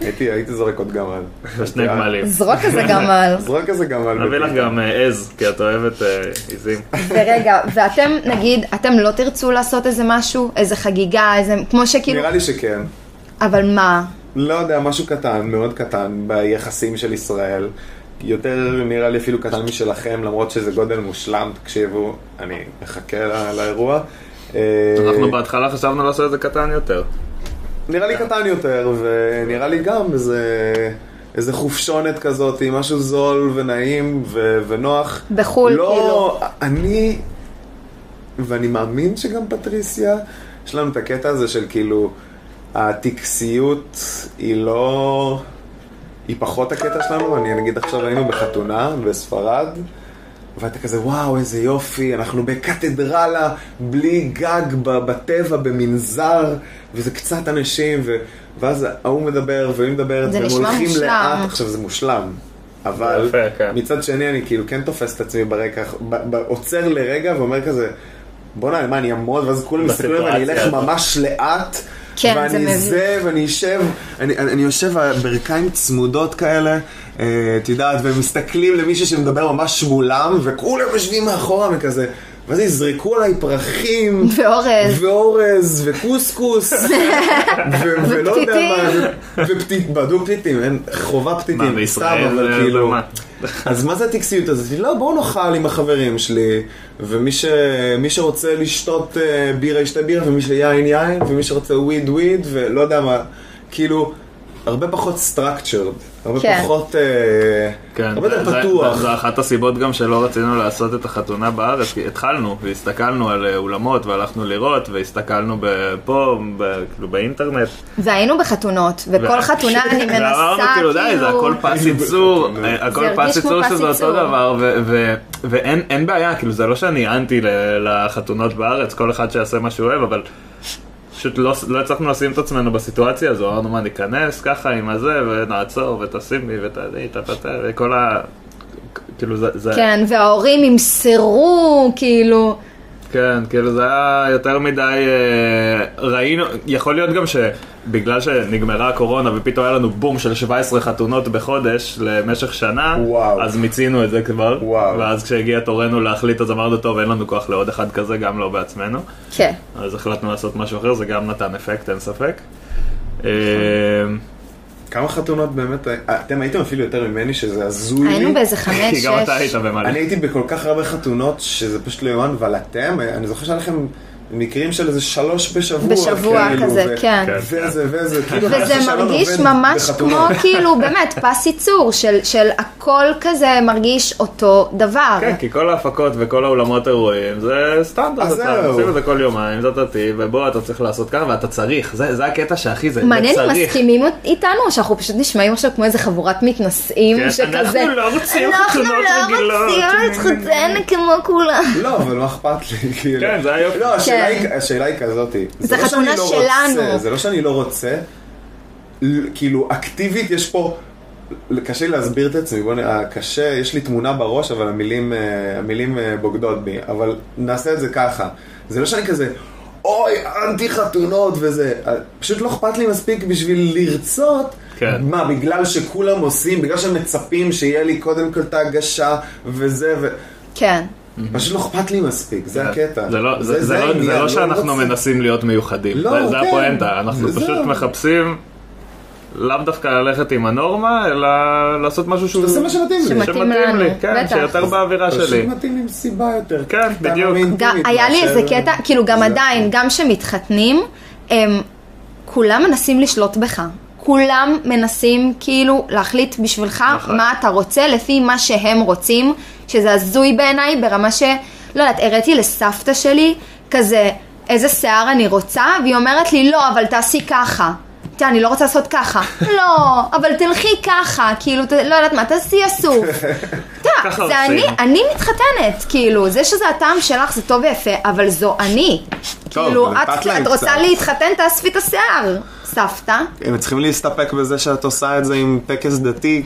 Speaker 2: הייתי הייתי זורק עוד גמל.
Speaker 3: ושני
Speaker 2: כן.
Speaker 3: גמלים.
Speaker 1: זרוק איזה גמל.
Speaker 2: זרוק איזה גמל.
Speaker 3: נביא לך
Speaker 2: בפיתה.
Speaker 3: גם אה, עז, כי את אוהבת אה, עזים.
Speaker 1: ורגע, ואתם, נגיד, אתם לא תרצו לעשות איזה משהו, איזה חגיגה, איזה, כמו שכאילו,
Speaker 2: נראה לי שכן.
Speaker 1: אבל מה?
Speaker 2: לא יודע, משהו קטן, מאוד קטן, ביחסים של ישראל. יותר נראה לי אפילו קטן משלכם, למרות שזה גודל מושלם, תקשיבו, אני מחכה לא- לאירוע. אה,
Speaker 3: אנחנו בהתחלה חשבנו לעשות את זה קטן יותר.
Speaker 2: נראה לי קטן יותר, ונראה לי גם איזה, איזה חופשונת כזאת, עם משהו זול ונעים ו- ונוח.
Speaker 1: בחו"ל,
Speaker 2: לא, אני, ואני מאמין שגם פטריסיה, יש לנו את הקטע הזה של כאילו, הטקסיות היא לא... היא פחות הקטע שלנו, אני נגיד עכשיו היינו בחתונה בספרד, ואתה כזה, וואו, איזה יופי, אנחנו בקתדרלה, בלי גג, ב- בטבע, במנזר, וזה קצת אנשים, ו... ואז ההוא מדבר, והיא מדברת,
Speaker 1: זה
Speaker 2: והם
Speaker 1: נשמע
Speaker 2: הולכים
Speaker 1: מושלם.
Speaker 2: לאט, עכשיו זה מושלם, אבל
Speaker 3: זה יפה, כן.
Speaker 2: מצד שני אני כאילו כן תופס את עצמי ברקע, ב- ב- עוצר לרגע ואומר כזה, בוא'נה, מה, אני אעמוד, ואז כולם מסתכלים עליי ואני
Speaker 3: בסיטואציה
Speaker 2: אלך
Speaker 3: הזאת.
Speaker 2: ממש לאט,
Speaker 1: כן, זה
Speaker 2: ואני
Speaker 1: מביך.
Speaker 2: זה, ואני יושב, אני, אני, אני יושב על ברכיים צמודות כאלה, אה, את יודעת, ומסתכלים למישהו שמדבר ממש מולם, וכולם יושבים מאחורה וכזה, ואז יזרקו עליי פרחים.
Speaker 1: ואורז,
Speaker 2: ואורז, וקוסקוס, ו- ולא יודע מה, ו- ופתית, בדוק פתיתים, אין חובה
Speaker 3: מה,
Speaker 2: פתיתים, כן, סתם,
Speaker 3: בישראל
Speaker 2: אבל
Speaker 3: זה-
Speaker 2: כאילו,
Speaker 3: זה מה?
Speaker 2: אז מה זה הטקסיות הזאת? לא, בואו נאכל עם החברים שלי, ומי ש... מי שרוצה לשתות אה, בירה ישתה בירה, ומי שיין יין, ומי שרוצה וויד וויד, ולא יודע מה, כאילו, הרבה פחות סטרקצ'רד, הרבה
Speaker 1: כן.
Speaker 2: פחות, אה,
Speaker 3: כן,
Speaker 2: הרבה יותר
Speaker 3: זה-
Speaker 2: פתוח.
Speaker 3: זה- זו אחת הסיבות גם שלא רצינו לעשות את החתונה בארץ, כי התחלנו והסתכלנו על אה, אולמות והלכנו לראות והסתכלנו ב- פה, ב- כאילו באינטרנט.
Speaker 1: והיינו בחתונות, וכל
Speaker 3: ו- [LAUGHS]
Speaker 1: חתונה אני
Speaker 3: ואמרנו
Speaker 1: מנסה
Speaker 3: כאילו,
Speaker 1: כאילו...
Speaker 3: די, זה הכל פס ייצור, אה, הכל
Speaker 1: זה הרגיש
Speaker 3: פס
Speaker 1: כמו
Speaker 3: ייצור
Speaker 1: פס
Speaker 3: שזה אותו
Speaker 1: ייצור.
Speaker 3: דבר, ו- ו- ואין אין בעיה, כאילו זה לא שאני אנטי ל- לחתונות בארץ, כל אחד שיעשה מה שהוא אוהב, אבל פשוט לא לא הצלחנו לשים את עצמנו בסיטואציה הזו, אמרנו מה ניכנס ככה עם הזה, ונעצור, ותשים לי, ותעדי, תתתה, וכל ה... כאילו זה, זה
Speaker 1: כן, וההורים ימסרו, כאילו...
Speaker 3: כן, כאילו זה היה יותר מדי, אה, ראינו, יכול להיות גם שבגלל שנגמרה הקורונה ופתאום היה לנו בום של 17 חתונות בחודש למשך שנה,
Speaker 2: וואו.
Speaker 3: אז מיצינו את זה כבר,
Speaker 2: וואו.
Speaker 3: ואז כשהגיע תורנו להחליט אז אמרנו טוב אין לנו כוח לעוד אחד כזה גם לא בעצמנו,
Speaker 1: כן.
Speaker 3: אז החלטנו לעשות משהו אחר, זה גם נתן אפקט אין ספק. אה,
Speaker 2: כמה חתונות באמת, אה, אתם הייתם אפילו יותר ממני, שזה הזוי לי.
Speaker 1: היינו באיזה חמש,
Speaker 3: [LAUGHS] כי גם אתה היית
Speaker 1: שש.
Speaker 3: במלא.
Speaker 2: אני הייתי בכל כך הרבה חתונות שזה פשוט לא יאומן, אבל אתם, אני זוכר שהיה לכם מקרים של איזה שלוש בשבוע.
Speaker 1: בשבוע
Speaker 2: כאילו,
Speaker 1: כזה,
Speaker 2: ו-
Speaker 1: כן.
Speaker 3: כן.
Speaker 2: וזה וזה, כאילו, אני חושב
Speaker 1: וזה
Speaker 2: שהעולם
Speaker 1: מרגיש
Speaker 2: עובד
Speaker 1: ממש כמו
Speaker 2: בחתונות.
Speaker 3: [LAUGHS]
Speaker 1: כאילו באמת פס ייצור של, של הכל כזה מרגיש אותו דבר.
Speaker 3: כן, כי כל ההפקות וכל האולמות אירועים זה סטנדרט,
Speaker 2: אז
Speaker 3: אתה
Speaker 2: זהו.
Speaker 3: עושים את זה כל יומיים, זה דתי, ובוא אתה צריך לעשות ככה ואתה צריך, זה זה הקטע שהכי זה, זה
Speaker 1: מעניין אם
Speaker 3: צריך.
Speaker 1: מסכימים איתנו או שאנחנו פשוט נשמעים עכשיו כמו איזה חבורת מתנשאים
Speaker 3: כן,
Speaker 1: שכזה.
Speaker 3: אנחנו לא רוצים חתונות
Speaker 1: אנחנו לא
Speaker 3: רגילות."
Speaker 1: רוצים את חתן כמו כולם.
Speaker 2: לא, אבל מה אכפת לי, כאילו.
Speaker 3: כן, זה היופי.
Speaker 2: לא, השאלה
Speaker 1: כן.
Speaker 2: היא- השאלה היא כזאתי.
Speaker 1: זה
Speaker 2: לא שאני
Speaker 1: חתונה
Speaker 2: לא
Speaker 1: שלנו.
Speaker 2: רוצה, זה לא שאני לא רוצה, ל- כאילו, אקטיבית יש פה... קשה לי להסביר את עצמי, בוא נראה, קשה, יש לי תמונה בראש, אבל המילים, אה, המילים אה, בוגדות בי, אבל נעשה את זה ככה. זה לא שאני כזה, אוי, אנטי חתונות וזה, אה, פשוט לא אכפת לי מספיק בשביל לרצות.
Speaker 3: כן.
Speaker 2: מה, בגלל שכולם עושים, בגלל שהם מצפים שיהיה לי קודם כל את ההגשה וזה, ו...
Speaker 1: כן.
Speaker 2: פשוט לא אכפת לי מספיק, זה הקטע.
Speaker 3: זה לא- זה- זה לא-
Speaker 2: העניין,
Speaker 3: זה לא שאנחנו
Speaker 2: רוצה.
Speaker 3: מנסים להיות מיוחדים,
Speaker 2: לא,
Speaker 3: זה- זה
Speaker 2: כן.
Speaker 3: הפואנטה, אנחנו
Speaker 2: זה
Speaker 3: פשוט
Speaker 2: זה.
Speaker 3: מחפשים לאו דווקא ללכת עם הנורמה, אלא לעשות משהו שהוא...
Speaker 2: תעשה מה שמתאים לי.
Speaker 1: שמתאים לנו,
Speaker 3: לי, כן,
Speaker 1: בטח.
Speaker 3: שיותר באווירה
Speaker 2: פשוט
Speaker 3: שלי.
Speaker 2: מתאים עם סיבה יותר.
Speaker 3: כן,
Speaker 2: קטנה
Speaker 3: בדיוק.
Speaker 2: ואינטימית
Speaker 1: גם, היה לי
Speaker 2: מאשר- אה,
Speaker 1: איזה קטע, כאילו גם
Speaker 2: זה- כן.
Speaker 1: עדיין, גם כשמתחתנים, הם כולם מנסים לשלוט בך. כולם מנסים כאילו להחליט בשבילך
Speaker 3: נכון.
Speaker 1: מה אתה רוצה לפי מה שהם רוצים, שזה הזוי בעיניי ברמה ש... לא יודעת, הראתי לסבתא שלי כזה איזה שיער אני רוצה, והיא אומרת לי לא, אבל תעשי ככה. תראה, אני לא רוצה לעשות ככה. לא, אבל תלכי ככה, כאילו, ת- לא יודעת מה, תעשי אסוף. אתה,
Speaker 3: ככה
Speaker 1: זה
Speaker 3: עושים.
Speaker 1: אני, אני מתחתנת, כאילו, זה שזה הטעם שלך זה טוב ויפה, אבל זו אני.
Speaker 2: טוב,
Speaker 1: כאילו,
Speaker 2: אבל
Speaker 1: את,
Speaker 2: נתת להם
Speaker 1: את רוצה
Speaker 2: קצת.
Speaker 1: להתחתן, תאספי את השיער, סבתא.
Speaker 2: הם צריכים להסתפק בזה שאת עושה את זה עם טקס דתי,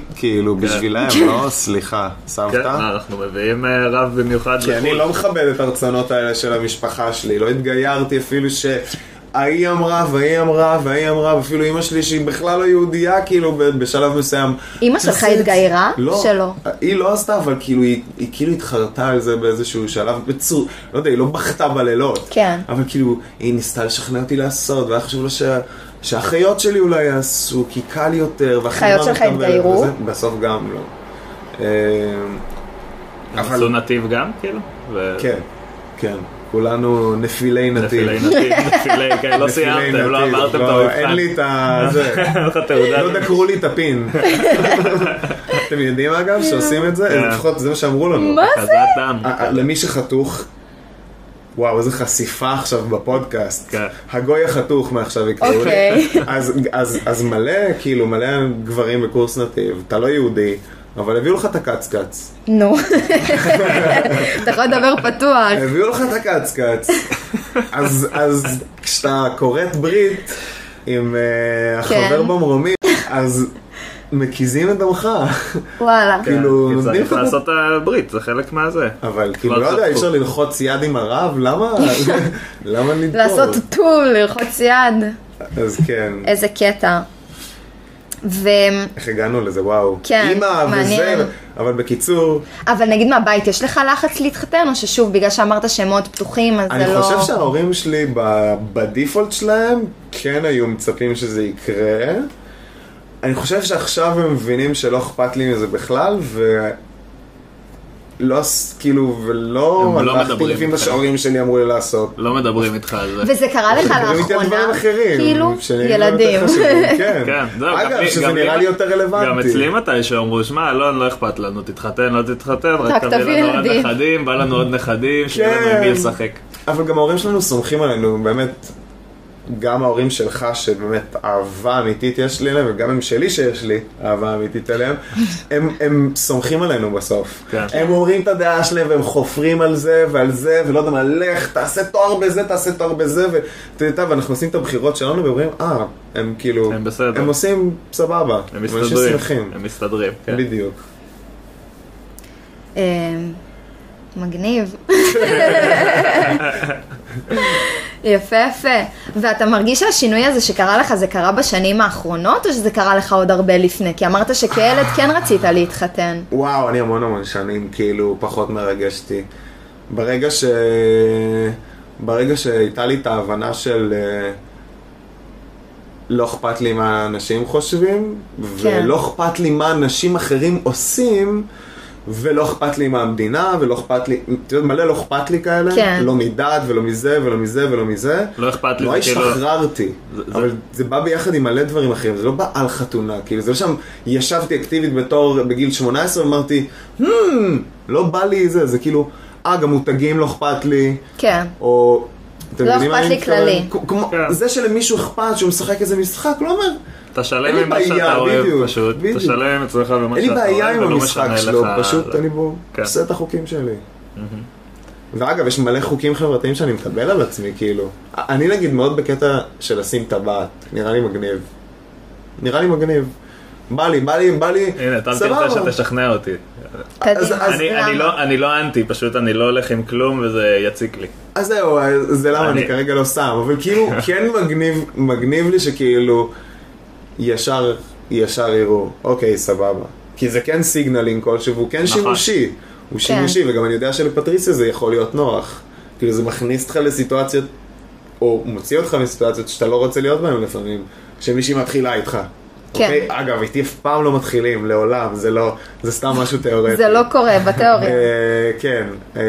Speaker 1: [LAUGHS]
Speaker 2: כאילו, בשבילם, לא? סליחה,
Speaker 3: כן,
Speaker 2: סבתא?
Speaker 3: מה, אנחנו מביאים אה, רב במיוחד
Speaker 2: כי אני
Speaker 3: לחו"ל.
Speaker 2: לא מכבד את הרצונות האלה של המשפחה שלי, לא התגיירתי אפילו שההיא אמרה וההיא אמרה וההיא אמרה, ואפילו אימא שלי שהיא בכלל לא יהודייה, כאילו ב- בשלב מסוים.
Speaker 1: אימא שלך
Speaker 2: תעשה את זה.
Speaker 1: התגיירה?
Speaker 2: לא.
Speaker 1: שלא.
Speaker 2: היא לא עשתה, אבל כאילו היא, היא כאילו התחרתה על זה באיזשהו שלב, בצור, לא יודע, היא לא בכתה בלילות.
Speaker 1: כן.
Speaker 2: אבל כאילו, היא ניסתה לשכנע אותי לעשות, והיה חשוב לה שה... שהחיות שלי אולי יעשו, כי קל יותר, והחיים
Speaker 1: החיות שלך יתגיירו?
Speaker 2: בסוף גם לא. אה,
Speaker 3: עשו נתיב גם, כאילו? ו-
Speaker 2: כן, כן. כולנו נפילי נתיב.
Speaker 3: נפילי [LAUGHS] נתיב, נפילי, כן, לא
Speaker 2: נפילי
Speaker 3: סיימתם, לא
Speaker 2: נתיב.
Speaker 3: עברתם את
Speaker 2: לא,
Speaker 3: המבחן.
Speaker 2: אין לי את ה... זה.
Speaker 3: [LAUGHS] אין לך תעודה.
Speaker 2: לא דקרו לי את
Speaker 3: [LAUGHS]
Speaker 2: הפין. אתם יודעים אגב שעושים את זה?
Speaker 3: כן.
Speaker 2: לפחות זה מה שאמרו לנו.
Speaker 1: מה?
Speaker 3: חזרת דם.
Speaker 2: ה- ה- למי שחתוך, וואו, איזה חשיפה עכשיו בפודקאסט.
Speaker 3: כן.
Speaker 2: הגוי החתוך מעכשיו יקראו לי.
Speaker 1: אוקיי.
Speaker 2: אז- אז אז מלא, כאילו, מלא גברים בקורס נתיב, אתה לא יהודי, אבל הביאו לך את הקצקץ.
Speaker 1: נו. אתה יכול לדבר פתוח.
Speaker 2: הביאו לך את הקצקץ. אז- אז כשאתה כורת ברית עם אה, החבר
Speaker 1: כן.
Speaker 2: במרומים, אז מקיזים את דמך.
Speaker 1: וואלה.
Speaker 2: כן. כאילו,
Speaker 3: כי
Speaker 2: נותנים
Speaker 3: צריך
Speaker 2: לך-
Speaker 3: לעשות את הברית, זה חלק מהזה.
Speaker 2: אבל כאילו,
Speaker 3: כבר
Speaker 2: לא יודע, אי
Speaker 3: חתכו.
Speaker 2: אפשר ללחוץ יד עם
Speaker 1: [LAUGHS]
Speaker 2: הרב? למה? למה לדפור?
Speaker 1: לעשות טוטול, ללחוץ יד.
Speaker 2: אז כן.
Speaker 1: איזה קטע. ו...
Speaker 2: איך הגענו לזה, וואו.
Speaker 1: כן,
Speaker 2: אימא
Speaker 1: מעניין.
Speaker 2: וזה, אבל בקיצור,
Speaker 1: אבל נגיד מהבית, יש לך לחץ להתחתן, או ששוב, בגלל שאמרת שהם מאוד פתוחים, אז זה
Speaker 2: אני
Speaker 1: לא...
Speaker 2: חושב שההורים שלי ב- בדיפולט שלהם כן היו מצפים שזה יקרה. אני חושב שעכשיו הם מבינים שלא אכפת לי מזה בכלל, ו... לא, ס- כאילו, ולא
Speaker 3: הם לא
Speaker 2: הלכתי
Speaker 3: מדברים
Speaker 2: לפי מה
Speaker 3: איתך.
Speaker 2: שההורים שלי אמרו לי לעשות.
Speaker 3: לא מדברים איתך על זה.
Speaker 1: וזה קרה לך
Speaker 2: מדברים איתי על
Speaker 1: לאחרונה,
Speaker 2: דברים אחרים.
Speaker 1: כאילו,
Speaker 2: שאני לא
Speaker 1: ילדים.
Speaker 2: יותר חשובים, כן.
Speaker 3: כן, זהו, גם
Speaker 2: אגב,
Speaker 3: לי-
Speaker 2: שזה
Speaker 3: גם לי-
Speaker 2: נראה לי יותר רלוונטי.
Speaker 3: גם אצלי מתישהו אמרו, שמע, אלון, לא אכפת לנו, תתחתן, לא תתחתן,
Speaker 1: רק
Speaker 3: רק
Speaker 1: תביא
Speaker 3: תביא לנו עוד
Speaker 1: ילדים."
Speaker 3: נכדים, בא לנו עוד נכדים, שיהיה לנו עם מי
Speaker 2: כן.
Speaker 3: לשחק.
Speaker 2: אבל גם ההורים שלנו סומכים עלינו, באמת, גם ההורים שלך, שבאמת אהבה אמיתית יש לי אליהם, וגם הם שלי שיש לי אהבה אמיתית
Speaker 3: [LAUGHS]
Speaker 2: אליהם, הם, הם סומכים עלינו בסוף.
Speaker 3: כן.
Speaker 2: הם אומרים את הדעה שלהם, והם חופרים על זה ועל זה, ולא יודע מה, לך, תעשה תואר בזה, תעשה תואר בזה, ואתה יודע, ואנחנו עושים את הבחירות שלנו, ואומרים, אה, הם כאילו,
Speaker 3: הם בסדר.
Speaker 2: הם עושים סבבה,
Speaker 3: הם
Speaker 2: אנשים
Speaker 3: מסתדרים,
Speaker 2: שמחים,
Speaker 3: הם מסתדרים, כן.
Speaker 2: בדיוק.
Speaker 1: אמ, מגניב. יפה יפה. ואתה מרגיש שהשינוי הזה שקרה לך, זה קרה בשנים האחרונות, או שזה קרה לך עוד הרבה לפני? כי אמרת שכילד כן רצית להתחתן.
Speaker 2: וואו, אני המון המון שנים, כאילו, פחות מרגשתי. ברגע ש... ברגע שהייתה לי את ההבנה של אה, לא אכפת לי מה אנשים חושבים,
Speaker 1: כן.
Speaker 2: ולא אכפת לי מה אנשים אחרים עושים, ולא אכפת לי מהמדינה, ולא אכפת לי, אתה יודע, מלא לא אכפת לי כאלה,
Speaker 1: כן.
Speaker 2: לא מדת ולא מזה ולא מזה ולא מזה.
Speaker 3: לא אכפת לי,
Speaker 2: לא
Speaker 3: זה כאילו-
Speaker 2: השתחררתי,
Speaker 3: זה- זה-
Speaker 2: אבל זה בא ביחד עם מלא דברים אחרים, זה לא בא על חתונה, כאילו זה לא שם ישבתי אקטיבית בתור בגיל 18 ואמרתי, "Hmm, לא בא לי זה, זה כאילו, אה גם מותגים לא אכפת לי,
Speaker 1: כן.
Speaker 2: או... אתם
Speaker 1: לא
Speaker 2: יודעים מה
Speaker 1: אכפת
Speaker 2: אני
Speaker 1: לי
Speaker 2: מתכוון?
Speaker 1: כללי.
Speaker 2: כ- כמו-
Speaker 3: כן.
Speaker 2: זה שלמישהו אכפת שהוא משחק איזה משחק, הוא לא אומר,
Speaker 3: אתה
Speaker 2: אין
Speaker 3: שלם
Speaker 2: לי
Speaker 3: עם מה
Speaker 2: בעיה,
Speaker 3: שאתה אוהב
Speaker 2: בדיוק,
Speaker 3: פשוט,
Speaker 2: בדיוק.
Speaker 3: אתה שלם עם עצמך ומה
Speaker 2: אין לי
Speaker 3: שאתה
Speaker 2: בעיה
Speaker 3: אוהב,
Speaker 2: עם
Speaker 3: ולא
Speaker 2: המשחק
Speaker 3: משנה
Speaker 2: שלו,
Speaker 3: לך...
Speaker 2: פשוט אני בו
Speaker 3: כן.
Speaker 2: עושה את החוקים שלי. ואגב, יש מלא חוקים חברתיים שאני מקבל על עצמי, כאילו. אני נגיד מאוד בקטע של לשים טבעת, נראה לי מגניב. נראה לי מגניב. בא לי, בא לי, בא לי,
Speaker 3: הנה, אתה תרצה שתשכנע אותי.
Speaker 2: אז-
Speaker 1: קדימה.
Speaker 2: אז
Speaker 3: אני- אני
Speaker 1: למה?
Speaker 3: לא- אני לא אנטי, פשוט אני לא הולך עם כלום וזה יציק לי.
Speaker 2: אז זהו, אז זה למה
Speaker 3: אני-
Speaker 2: אני כרגע לא שם, אבל
Speaker 3: [LAUGHS]
Speaker 2: כאילו, כן מגניב, מגניב לי שכאילו, ישר, ישר יראו, אוקיי, סבבה. כי זה כן סיגנלינג כלשהו, והוא כן
Speaker 3: נכון.
Speaker 2: שימושי.
Speaker 1: כן.
Speaker 2: הוא שימושי, וגם אני יודע שלפטריסיה זה יכול להיות נוח. כאילו, זה מכניס אותך לסיטואציות, או מוציא אותך מסיטואציות שאתה לא רוצה להיות בהן לפעמים, שמישהי מתחילה איתך.
Speaker 1: כן.
Speaker 2: אוקיי? אגב, איתי אף פעם לא מתחילים, לעולם, זה לא, זה סתם משהו תיאורטי.
Speaker 1: זה לא קורה בתיאוריה.
Speaker 2: אה, כן. אה,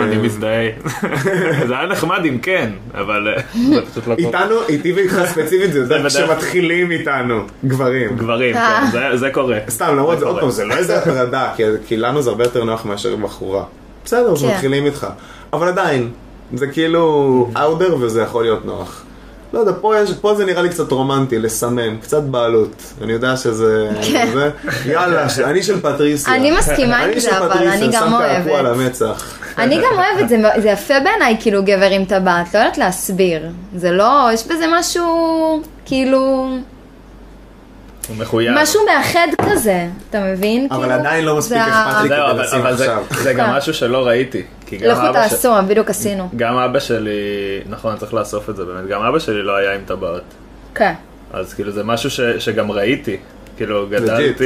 Speaker 3: אני מזדהה. [LAUGHS] זה היה נחמד אם כן,
Speaker 2: [LAUGHS]
Speaker 3: אבל אה, זה פשוט לא קורה.
Speaker 2: איתנו, איתי ואיתך ספציפית, זה יותר
Speaker 3: בדרך.
Speaker 2: כשמתחילים איתנו, גברים.
Speaker 3: גברים,
Speaker 1: אה.
Speaker 3: כן, זה- זה קורה.
Speaker 2: סתם, למרות זה, עוד
Speaker 3: קורה.
Speaker 2: פעם, זה לא איזה הטרדה, כי- כי לנו זה הרבה יותר נוח מאשר בחורה. בסדר, אז
Speaker 1: כן.
Speaker 2: מתחילים איתך. אבל עדיין, זה כאילו אאודר וזה יכול להיות נוח. לא יודע, פה, יש, פה זה נראה לי קצת רומנטי, לסמם, קצת בעלות. אני יודע שזה...
Speaker 1: כן.
Speaker 2: זה, יאללה, ש- אני של פטריסיה.
Speaker 1: אני מסכימה עם
Speaker 2: אני של
Speaker 1: זה, אבל
Speaker 2: פטריסיה,
Speaker 1: אני גם
Speaker 2: שם את
Speaker 1: אוהבת.
Speaker 2: הקעקוע על המצח.
Speaker 1: אני גם אוהבת, זה, מאוד- זה יפה בעיניי, כאילו, גבר עם טבעת, לא יודעת להסביר. זה לא, יש בזה משהו, כאילו,
Speaker 3: הוא מחויב.
Speaker 1: משהו מאחד כזה, אתה מבין?
Speaker 2: אבל
Speaker 1: כאילו,
Speaker 2: עדיין לא מספיק
Speaker 1: זה ה-
Speaker 2: אכפת לי.
Speaker 3: זהו, אבל-
Speaker 2: לשים
Speaker 3: אבל זה-
Speaker 2: עכשיו.
Speaker 3: זה גם משהו שלא ראיתי. כי גם
Speaker 1: כן. לכו
Speaker 3: אבא ש-
Speaker 1: תעשו, לא בדיוק עשינו.
Speaker 3: גם אבא שלי, נכון, אני צריך לאסוף את זה באמת, גם אבא שלי לא היה עם טבעות.
Speaker 1: כן.
Speaker 3: אז כאילו זה משהו ש, שגם ראיתי. כאילו
Speaker 2: Legit.
Speaker 3: גדלתי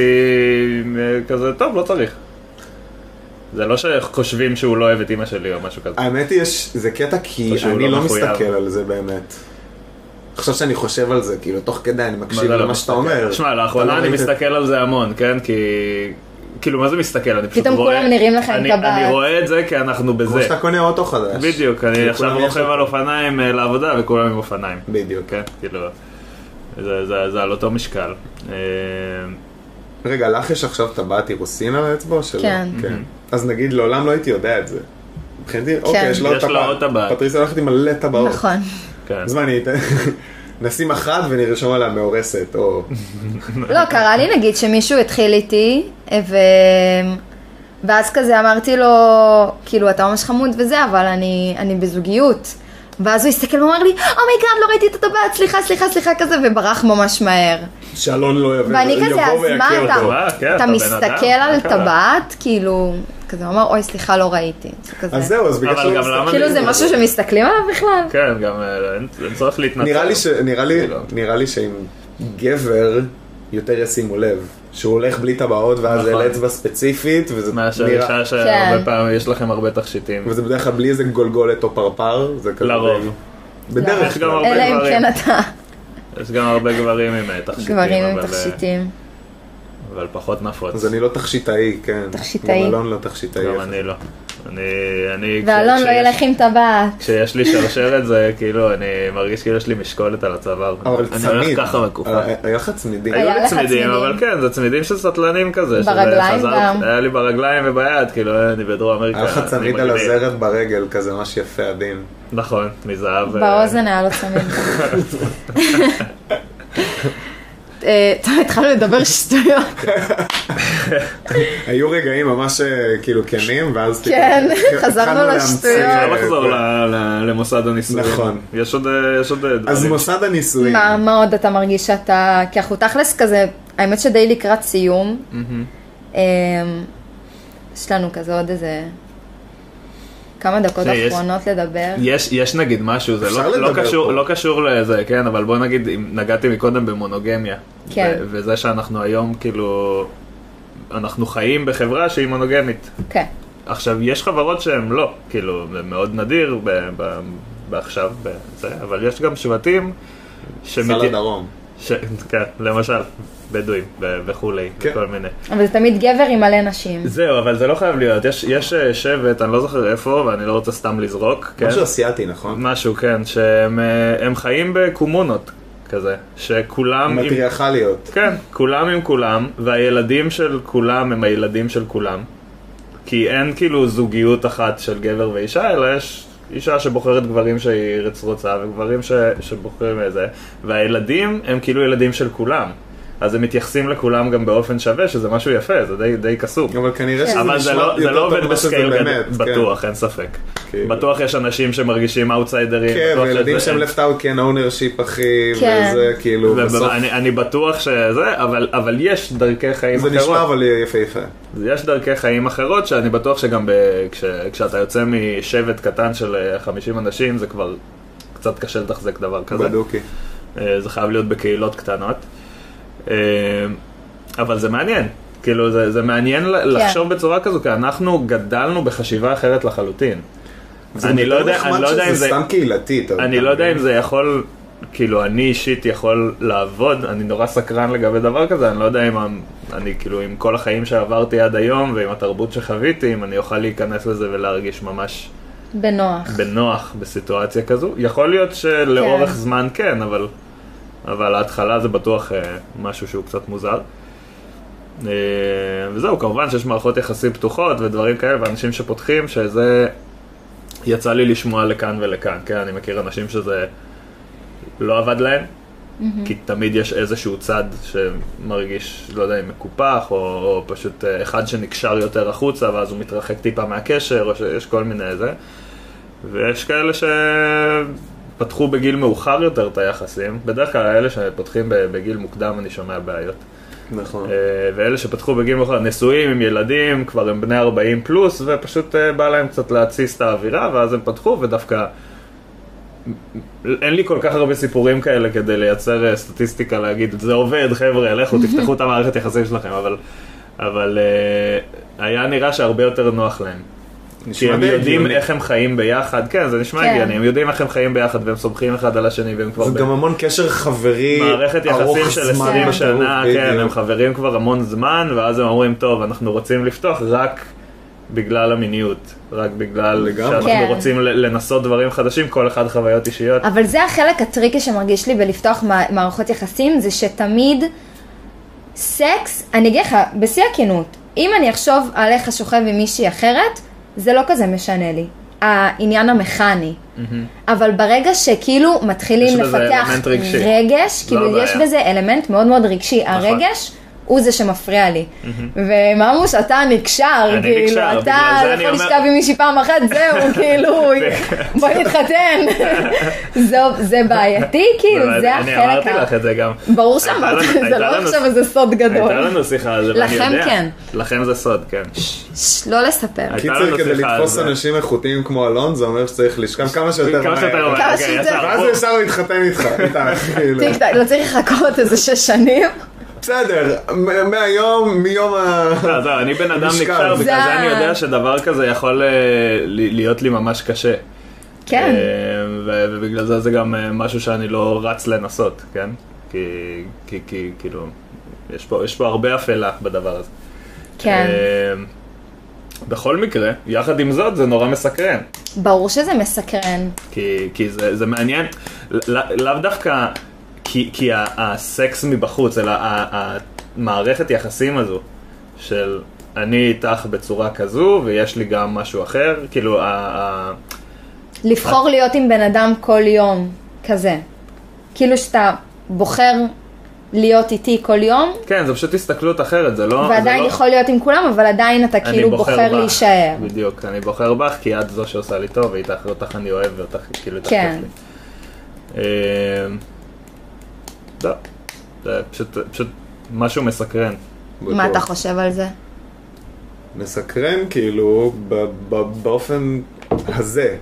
Speaker 3: עם, אה, כזה, טוב, לא צריך. זה לא שחושבים שהוא לא אוהב את
Speaker 2: אה,
Speaker 3: אימא שלי או משהו כזה.
Speaker 2: האמת היא, יש, זה קטע כי
Speaker 3: או שהוא
Speaker 2: אני
Speaker 3: לא
Speaker 2: לא
Speaker 3: מחויב.
Speaker 2: מסתכל על זה באמת. עכשיו שאני חושב על זה, כאילו, תוך כדי אני מקשיב
Speaker 3: מה זה
Speaker 2: למה
Speaker 3: לא
Speaker 2: שאתה אומר.
Speaker 3: שמע,
Speaker 2: אתה
Speaker 3: לאחרונה
Speaker 2: לא
Speaker 3: אני
Speaker 2: ראית את-
Speaker 3: מסתכל על זה המון, כן? כי... כאילו, מה זה מסתכל? אני פשוט
Speaker 1: פתאום
Speaker 3: רואה...
Speaker 1: כולם נראים לך עם
Speaker 3: אני-
Speaker 1: טבעת.
Speaker 3: אני רואה את זה כי אנחנו
Speaker 2: כמו
Speaker 3: בזה.
Speaker 2: שאתה קונה אוטו חדש.
Speaker 3: בדיוק, אני
Speaker 2: כאילו,
Speaker 3: עכשיו
Speaker 2: כולם יש-
Speaker 3: רוכב על אופניים אה, לעבודה וכולם עם אופניים.
Speaker 2: בדיוק.
Speaker 3: כן, כאילו... זה- זה זה על אותו משקל. אה,
Speaker 2: רגע, לך יש עכשיו טבעת אירוסין על האצבע או שלא?
Speaker 1: כן.
Speaker 2: אז נגיד, לעולם לא הייתי יודע את זה. מבחינתי, אוקיי, יש לה
Speaker 3: יש לה
Speaker 2: עוד
Speaker 3: עוד טבעת.
Speaker 2: טבעת. פטריסיה הולכת עם מלא טבעות.
Speaker 1: כן. [LAUGHS] נכון.
Speaker 3: כן.
Speaker 2: אז מה, אני אתן... [LAUGHS] נשים אחת ונרשום עליה מאורסת, או...
Speaker 1: לא, קרה לי נגיד שמישהו התחיל איתי, ו... ואז כזה אמרתי לו, כאילו, אתה ממש חמוד וזה, אבל אני, אני בזוגיות. ואז הוא הסתכל ואמר לי, אומייגאד, לא ראיתי את הטבעת, סליחה, סליחה, סליחה, כזה, וברח ממש מהר.
Speaker 2: שאלון לא יבוא
Speaker 1: ואני כזה,
Speaker 2: יבוא
Speaker 1: אז מה
Speaker 2: ויכיר אותו.
Speaker 3: אה, כן,
Speaker 1: אתה,
Speaker 3: אתה
Speaker 1: אתה
Speaker 3: בן
Speaker 1: מסתכל
Speaker 3: אדם,
Speaker 1: על
Speaker 3: מה קרה?
Speaker 1: טבעת, כאילו, כזה, הוא אמר, אוי, סליחה, לא ראיתי. כזה.
Speaker 2: אז זהו, אז בגלל
Speaker 3: אבל
Speaker 2: שהוא
Speaker 3: גם
Speaker 2: מסתכל-
Speaker 3: למה-
Speaker 1: כאילו, זה משהו שמסתכלים עליו בכלל?
Speaker 3: כן, גם אה, אין אין צורך להתנצל.
Speaker 2: נראה לי, ש... נראה, לי...
Speaker 3: כאילו.
Speaker 2: נראה לי שאם גבר יותר ישימו לב, שהוא הולך בלי טבעות ואז
Speaker 3: נכון.
Speaker 2: נכון. אצבע ספציפית, וזה
Speaker 3: מאשר
Speaker 2: נראה...
Speaker 3: אישה
Speaker 1: כן.
Speaker 3: שהרבה פעמים יש לכם הרבה תכשיטים.
Speaker 2: וזה בדרך כלל בלי איזה גולגולת או פרפר, זה כזה...
Speaker 3: לרוב.
Speaker 2: בדרך
Speaker 1: לא,
Speaker 3: יש
Speaker 2: כלל.
Speaker 3: גם הרבה
Speaker 1: אלא אם
Speaker 3: דברים.
Speaker 1: כן אתה
Speaker 3: יש גם הרבה גברים עם אה, תכשיטים.
Speaker 1: גברים עם
Speaker 3: אבל, אה,
Speaker 1: תכשיטים.
Speaker 3: אבל פחות נפוץ.
Speaker 2: אז אני לא תכשיטאי, כן.
Speaker 1: תכשיטאי.
Speaker 2: גם אלון לא תכשיטאי.
Speaker 3: גם אני לא. אני... אני
Speaker 1: ואלון
Speaker 3: כש-
Speaker 1: לא ילך עם טבעת.
Speaker 3: כשיש לי שרשרת זה כאילו, אני מרגיש כאילו יש לי משקולת על הצוואר.
Speaker 2: אבל
Speaker 3: אני הולך
Speaker 2: צמיד.
Speaker 3: ככה מכופה.
Speaker 2: אה, היה לך צמידים.
Speaker 1: היה
Speaker 3: היו לי
Speaker 1: לך
Speaker 3: צמידים,
Speaker 1: צמידים.
Speaker 3: אבל כן, זה צמידים של סטלנים כזה. שזה
Speaker 1: ברגליים
Speaker 3: חזרתי-
Speaker 1: גם.
Speaker 3: היה לי ברגליים וביד, כאילו, אה, אני בדרום אמריקה.
Speaker 2: היה לך
Speaker 3: אני
Speaker 2: צמיד על
Speaker 3: מגניב.
Speaker 2: הזרת ברגל, כזה ממש יפה, עדין.
Speaker 3: נכון, מזהב. אה,
Speaker 1: באוזן היה לו צמיד. אה, טוב, התחלנו לדבר שטויות.
Speaker 2: היו רגעים ממש אה, כאילו כנים, ואז...
Speaker 1: כן, [LAUGHS]
Speaker 2: טיפה-
Speaker 1: חזרנו
Speaker 2: התחלנו להמציא,
Speaker 1: לשטויות.
Speaker 3: אפשר
Speaker 2: אה,
Speaker 3: לחזור ל- ל- למוסד הנישואים.
Speaker 2: נכון.
Speaker 3: יש עוד אה, יש עוד, אה,
Speaker 2: אז
Speaker 3: דברים.
Speaker 2: מוסד
Speaker 3: כן.
Speaker 2: הנישואים.
Speaker 1: מה, מה עוד אתה מרגיש שאתה, כי אנחנו תכלס כזה, האמת שדי לקראת סיום. אמ, יש לנו כזה עוד איזה כמה דקות
Speaker 3: תראי, יש-
Speaker 1: אחרונות לדבר.
Speaker 3: יש, יש נגיד משהו, זה
Speaker 2: אפשר
Speaker 3: לא, לא,
Speaker 2: לדבר
Speaker 3: קשור,
Speaker 2: פה.
Speaker 3: לא קשור לזה, כן, אבל בוא נגיד, אם נגעתי מקודם במונוגמיה.
Speaker 1: כן.
Speaker 3: ו- וזה שאנחנו היום, כאילו, אנחנו חיים בחברה שהיא מונוגמית.
Speaker 1: כן.
Speaker 3: עכשיו, יש חברות שהן לא, כאילו, זה מאוד נדיר ב- ב- בעכשיו, בזה, אבל יש גם שבטים
Speaker 2: סל
Speaker 3: שמתי...
Speaker 2: הדרום.
Speaker 3: ש... [LAUGHS] כן, למשל, בדואים ו- וכולי,
Speaker 2: כן.
Speaker 3: וכל מיני.
Speaker 1: אבל זה תמיד גבר עם מלא נשים.
Speaker 3: זהו, אבל זה לא חייב להיות. יש, יש אה, שבט, אני לא זוכר איפה, ואני לא רוצה סתם לזרוק. כן?
Speaker 2: משהו אסיאתי, נכון?
Speaker 3: משהו, כן, שהם אה, הם חיים בקומונות כזה, שכולם עם...
Speaker 2: מטריארכליות.
Speaker 3: כן, כולם עם כולם, והילדים של כולם הם הילדים של כולם. כי אין כאילו זוגיות אחת של גבר ואישה, אלא יש אישה שבוחרת גברים שהיא רצ- רוצה, וגברים ש... שבוחרים את זה, והילדים הם כאילו ילדים של כולם. אז הם מתייחסים לכולם גם באופן שווה, שזה משהו יפה, זה די, די קסום.
Speaker 2: אבל כנראה שזה
Speaker 3: אבל זה
Speaker 2: נשמע
Speaker 3: לא, זה
Speaker 2: יותר
Speaker 3: לא
Speaker 2: טוב
Speaker 3: עובד
Speaker 2: ממה שזה
Speaker 3: בסקייל גדול,
Speaker 2: באמת, כן.
Speaker 3: בטוח, אין ספק.
Speaker 2: כאילו.
Speaker 3: בטוח יש אנשים שמרגישים אאוטסיידרים.
Speaker 2: כן,
Speaker 3: בטוח
Speaker 2: וילדים
Speaker 3: שזה-
Speaker 2: שהם left out, כן, ownership אחי,
Speaker 1: כן.
Speaker 2: וזה כאילו,
Speaker 3: ו-
Speaker 2: בסוף
Speaker 3: אני- אני בטוח שזה, אבל אבל יש דרכי חיים
Speaker 2: זה
Speaker 3: אחרות.
Speaker 2: נשמע אבל יפהפה.
Speaker 3: יש דרכי חיים אחרות שאני בטוח שגם ב... כש... כשאתה יוצא משבט קטן של אה, 50 אנשים זה כבר קצת קשה לתחזק דבר כזה.
Speaker 2: בדוקי.
Speaker 3: אה, זה חייב להיות בקהילות קטנות. אה, אבל זה מעניין, כאילו זה, זה מעניין ל- לחשוב בצורה כזו, כי אנחנו גדלנו בחשיבה אחרת לחלוטין.
Speaker 2: זה
Speaker 3: אני לא
Speaker 2: יותר
Speaker 3: יודע,
Speaker 2: נחמד
Speaker 3: אני לא יודע אם
Speaker 2: שזה
Speaker 3: זה...
Speaker 2: סתם קהילתי. אתה
Speaker 3: אני
Speaker 2: אתה
Speaker 3: לא יודע
Speaker 2: מבין?
Speaker 3: אם זה יכול, כאילו אני אישית יכול לעבוד, אני נורא סקרן לגבי דבר כזה, אני לא יודע אם המ- אני כאילו עם כל החיים שעברתי עד היום ועם התרבות שחוויתי, אם אני אוכל להיכנס לזה ולהרגיש ממש
Speaker 1: בנוח.
Speaker 3: בנוח בסיטואציה כזו. יכול להיות שלאורך
Speaker 1: כן.
Speaker 3: זמן כן, אבל, אבל ההתחלה זה בטוח אה, משהו שהוא קצת מוזר. אה, וזהו, כמובן שיש מערכות יחסים פתוחות ודברים כאלה, ואנשים שפותחים, שזה... יצא לי לשמוע לכאן ולכאן, כן? אני מכיר אנשים שזה לא עבד להם, כי תמיד יש איזשהו צד שמרגיש, לא יודע אם מקופח, או, או פשוט אה, אחד שנקשר יותר החוצה, ואז הוא מתרחק טיפה מהקשר, או שיש כל מיני זה. ויש כאלה שפתחו בגיל מאוחר יותר את היחסים. בדרך כלל אלה שפותחים ב- בגיל מוקדם, אני שומע בעיות.
Speaker 2: נכון.
Speaker 3: אה, ואלה שפתחו בגיל מאוחר, נשואים עם ילדים, כבר הם בני 40 פלוס, ופשוט אה, בא להם קצת להתסיס את האווירה, ואז הם פתחו, ודווקא... אין לי כל כך הרבה סיפורים כאלה כדי לייצר אה, סטטיסטיקה להגיד, זה עובד, חבר'ה, לכו, תפתחו את המערכת יחסים שלכם, אבל, אבל אה, היה נראה שהרבה יותר נוח להם. כי
Speaker 2: נשמע
Speaker 3: הם
Speaker 2: די
Speaker 3: יודעים
Speaker 2: הגיוני.
Speaker 3: איך הם חיים ביחד, כן, זה נשמע
Speaker 1: כן.
Speaker 3: הגיוני, הם יודעים איך הם חיים ביחד והם סומכים אחד על השני והם כבר...
Speaker 2: זה גם המון קשר חברי
Speaker 3: מערכת
Speaker 2: ארוך
Speaker 3: יחסים של
Speaker 2: זמן
Speaker 3: 20
Speaker 2: בטירוף,
Speaker 3: שנה, כן,
Speaker 2: בדיוק.
Speaker 3: הם חברים כבר המון זמן, ואז הם אומרים, טוב, אנחנו רוצים לפתוח רק בגלל המיניות, רק בגלל
Speaker 1: כן.
Speaker 2: לגמרי.
Speaker 3: שאנחנו רוצים ל- לנסות דברים חדשים, כל אחד חוויות אישיות.
Speaker 1: אבל זה החלק הטריקי שמרגיש לי בלפתוח מע- מערכות יחסים, זה שתמיד סקס, אני אגיד לך, בשיא הכנות, אם אני אחשוב על איך השוכב עם מישהי אחרת, זה לא כזה משנה לי. העניין המכני. אבל ברגע שכאילו
Speaker 3: יש
Speaker 1: מתחילים
Speaker 3: בזה
Speaker 1: לפתח
Speaker 3: אלמנט רגשי. לא
Speaker 1: רגש, כאילו יש
Speaker 3: הבעיה. נכון.
Speaker 1: בזה אלמנט מאוד מאוד רגשי. הרגש הוא זה שמפריע לי. וממוש, אתה נקשר,
Speaker 3: אני
Speaker 1: כאילו,
Speaker 3: נקשר,
Speaker 1: אתה
Speaker 3: בגלל זה אני
Speaker 1: יכול
Speaker 3: אומר-
Speaker 1: לשכב עם מישהי פעם אחת,
Speaker 3: [LAUGHS]
Speaker 1: זהו, כאילו, בוא נתחתן. זו- זה בעייתי, כאילו, זה
Speaker 3: לא, אני
Speaker 1: החלק
Speaker 3: אמרתי
Speaker 1: ה...
Speaker 3: לך את זה גם.
Speaker 1: ברור
Speaker 3: הייתה
Speaker 1: שאמרתי,
Speaker 3: לנו-
Speaker 1: זה
Speaker 3: הייתה
Speaker 1: לא
Speaker 3: לנו-
Speaker 1: עכשיו איזה סוד
Speaker 3: הייתה
Speaker 1: גדול.
Speaker 3: לנו שיחה על זה, ואני יודע.
Speaker 1: לכם כן.
Speaker 3: לכם זה סוד, כן.
Speaker 1: לא לספר.
Speaker 3: הייתה לנו
Speaker 2: קיצר, כדי
Speaker 3: שיחה על
Speaker 2: לתפוס
Speaker 3: זה.
Speaker 2: אנשים איכותיים כמו אלון, זה אומר שצריך לשכב כמה שיותר
Speaker 3: כמה שיותר
Speaker 2: מהר.
Speaker 3: מהר,
Speaker 1: כמה
Speaker 3: אוקיי,
Speaker 1: שיותר-
Speaker 3: יצא,
Speaker 2: ואז
Speaker 3: בוא.
Speaker 2: אפשר להתחתן איתך,
Speaker 1: [LAUGHS]
Speaker 2: איתך, כאילו.
Speaker 1: טיק טק, לא צריך לחכות איזה שש שנים.
Speaker 2: בסדר, מ- מהיום, מיום ה...
Speaker 3: לא, זהו, אני בן אדם
Speaker 2: משקל.
Speaker 3: נקשר,
Speaker 2: זה
Speaker 3: בגלל זה
Speaker 1: ה-
Speaker 3: אני יודע שדבר כזה יכול אה, ל- להיות לי ממש קשה.
Speaker 1: כן.
Speaker 3: אה, ו- ובגלל זה זה גם אה, משהו שאני לא רץ לנסות, כן? כי, כי, כי כאילו, יש פה, יש פה הרבה אפלה בדבר הזה.
Speaker 1: כן.
Speaker 3: אה, בכל מקרה, יחד עם זאת, זה נורא מסקרן.
Speaker 1: ברור שזה מסקרן.
Speaker 3: כי, כי זה, זה מעניין, ל- ל- לאו דווקא כי, כי ה- הסקס מבחוץ, אלא ה- המערכת יחסים הזו של אני איתך בצורה כזו ויש לי גם משהו אחר, כאילו, ה- ה-
Speaker 1: לבחור להיות עם בן אדם כל יום, כזה. כאילו שאתה בוחר להיות איתי כל יום,
Speaker 3: כן, זה פשוט הסתכלות אחרת, זה לא... זה
Speaker 1: ועדיין
Speaker 3: לא...
Speaker 1: יכול להיות עם כולם, אבל עדיין אתה
Speaker 3: אני
Speaker 1: כאילו בוחר
Speaker 3: בך.
Speaker 1: להישאר.
Speaker 3: בדיוק, אני בוחר בך כי את זו שעושה לי טוב, ואיתך אותך אני אוהב ואותך כאילו איתך
Speaker 1: כן.
Speaker 3: כיף לי. אמ, לא, זה פשוט, פשוט משהו מסקרן.
Speaker 1: מה אתה חושב על זה?
Speaker 2: מסקרן, כאילו, ב- ב- באופן הזה.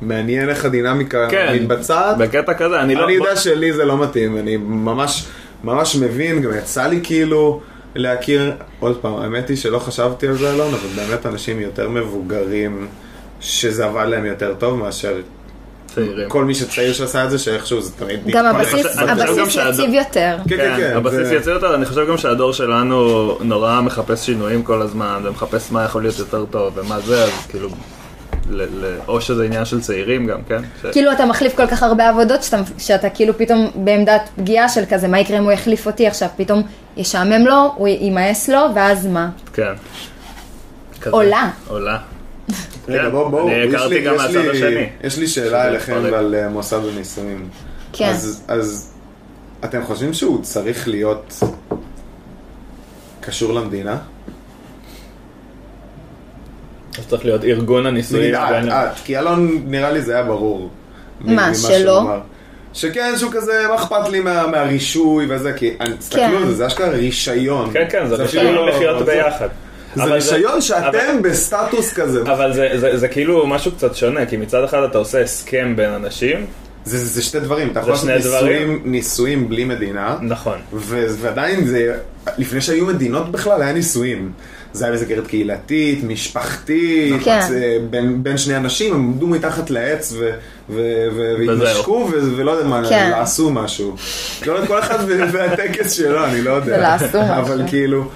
Speaker 2: מעניין איך הדינמיקה
Speaker 3: כן.
Speaker 2: מתבצעת.
Speaker 3: בקטע כזה, אני לא...
Speaker 2: אוקיי. אני
Speaker 3: בוא-
Speaker 2: יודע שלי זה לא מתאים, אני ממש ממש מבין, גם יצא לי כאילו להכיר, עוד פעם, האמת היא שלא חשבתי על זה אלון, אבל באמת אנשים יותר מבוגרים, שזה עבד להם יותר טוב מאשר
Speaker 3: צעירים.
Speaker 2: כל מי שצעיר שעשה את זה, שאיכשהו זה תמיד...
Speaker 1: גם
Speaker 2: מתפרק.
Speaker 1: הבסיס,
Speaker 3: חושב- אני חושב גם
Speaker 1: הבסיס
Speaker 3: שהאדם-
Speaker 1: יציב יותר.
Speaker 2: כן, כן, כן.
Speaker 3: הבסיס
Speaker 2: זה-
Speaker 3: יוצא יותר, אני חושב גם שהדור שלנו נורא מחפש שינויים כל הזמן, ומחפש מה יכול להיות יותר טוב, ומה זה, אז כאילו, ל- ל- או שזה עניין של צעירים גם, כן? ש-
Speaker 1: כאילו אתה מחליף כל כך הרבה עבודות, שאתה, שאתה כאילו פתאום בעמדת פגיעה של כזה, מה יקרה אם הוא יחליף אותי עכשיו? פתאום ישעמם לו, הוא יימאס לו, ואז מה?
Speaker 3: כן. כזה.
Speaker 1: עולה.
Speaker 3: עולה.
Speaker 2: [LAUGHS] רגע,
Speaker 3: כן,
Speaker 2: בואו, בואו,
Speaker 3: אני
Speaker 2: יש
Speaker 3: הכרתי
Speaker 2: לי-
Speaker 3: גם
Speaker 2: יש
Speaker 3: מהצד
Speaker 2: לי-
Speaker 3: השני.
Speaker 2: יש לי שאלה אליכם
Speaker 3: מתפרק.
Speaker 2: על אה, מוסד הנישואים.
Speaker 1: כן.
Speaker 2: אז- אז אתם חושבים שהוא צריך להיות קשור למדינה?
Speaker 3: אז צריך להיות ארגון כן, הנישואים.
Speaker 2: נגיד את,
Speaker 3: הבין-
Speaker 2: את, אה, כי אלון נראה לי זה היה ברור. מ-
Speaker 1: מה,
Speaker 2: ממה שהוא
Speaker 1: שלא?
Speaker 2: אמר. שכן, שהוא כזה, מה אכפת לי מה- מהרישוי וזה, כי אני-
Speaker 1: כן.
Speaker 2: תסתכלו על זה, זה אשכרה רישיון.
Speaker 3: כן, כן, זה
Speaker 2: אפילו
Speaker 3: רישיון
Speaker 2: לא-
Speaker 3: לחיות
Speaker 2: זה-
Speaker 3: ביחד. אבל
Speaker 2: זה רישיון
Speaker 3: אבל-
Speaker 2: שאתם בסטטוס כזה.
Speaker 3: אבל זה, זה, זה כאילו משהו קצת שונה, כי מצד אחד אתה עושה הסכם בין אנשים,
Speaker 2: זה זה שתי דברים, אתה יכול לעשות
Speaker 3: שני דברים.
Speaker 2: נישואים- נישואים בלי מדינה.
Speaker 3: נכון,
Speaker 2: ו- ועדיין זה, לפני שהיו מדינות בכלל, היה נישואים. זה היה מסגרת קהילתית, משפחתית,
Speaker 1: כן.
Speaker 2: זה- בין, בין שני אנשים, הם עמדו מתחת לעץ ו- ו- ו-
Speaker 3: וזהו.
Speaker 2: והתנשקו, ו- ולא יודע מה,
Speaker 1: כן.
Speaker 2: עשו משהו. לא יודע, כל אחד ו- והטקס שלו, אני לא יודע.
Speaker 1: ולעשו משהו.
Speaker 2: אבל כאילו,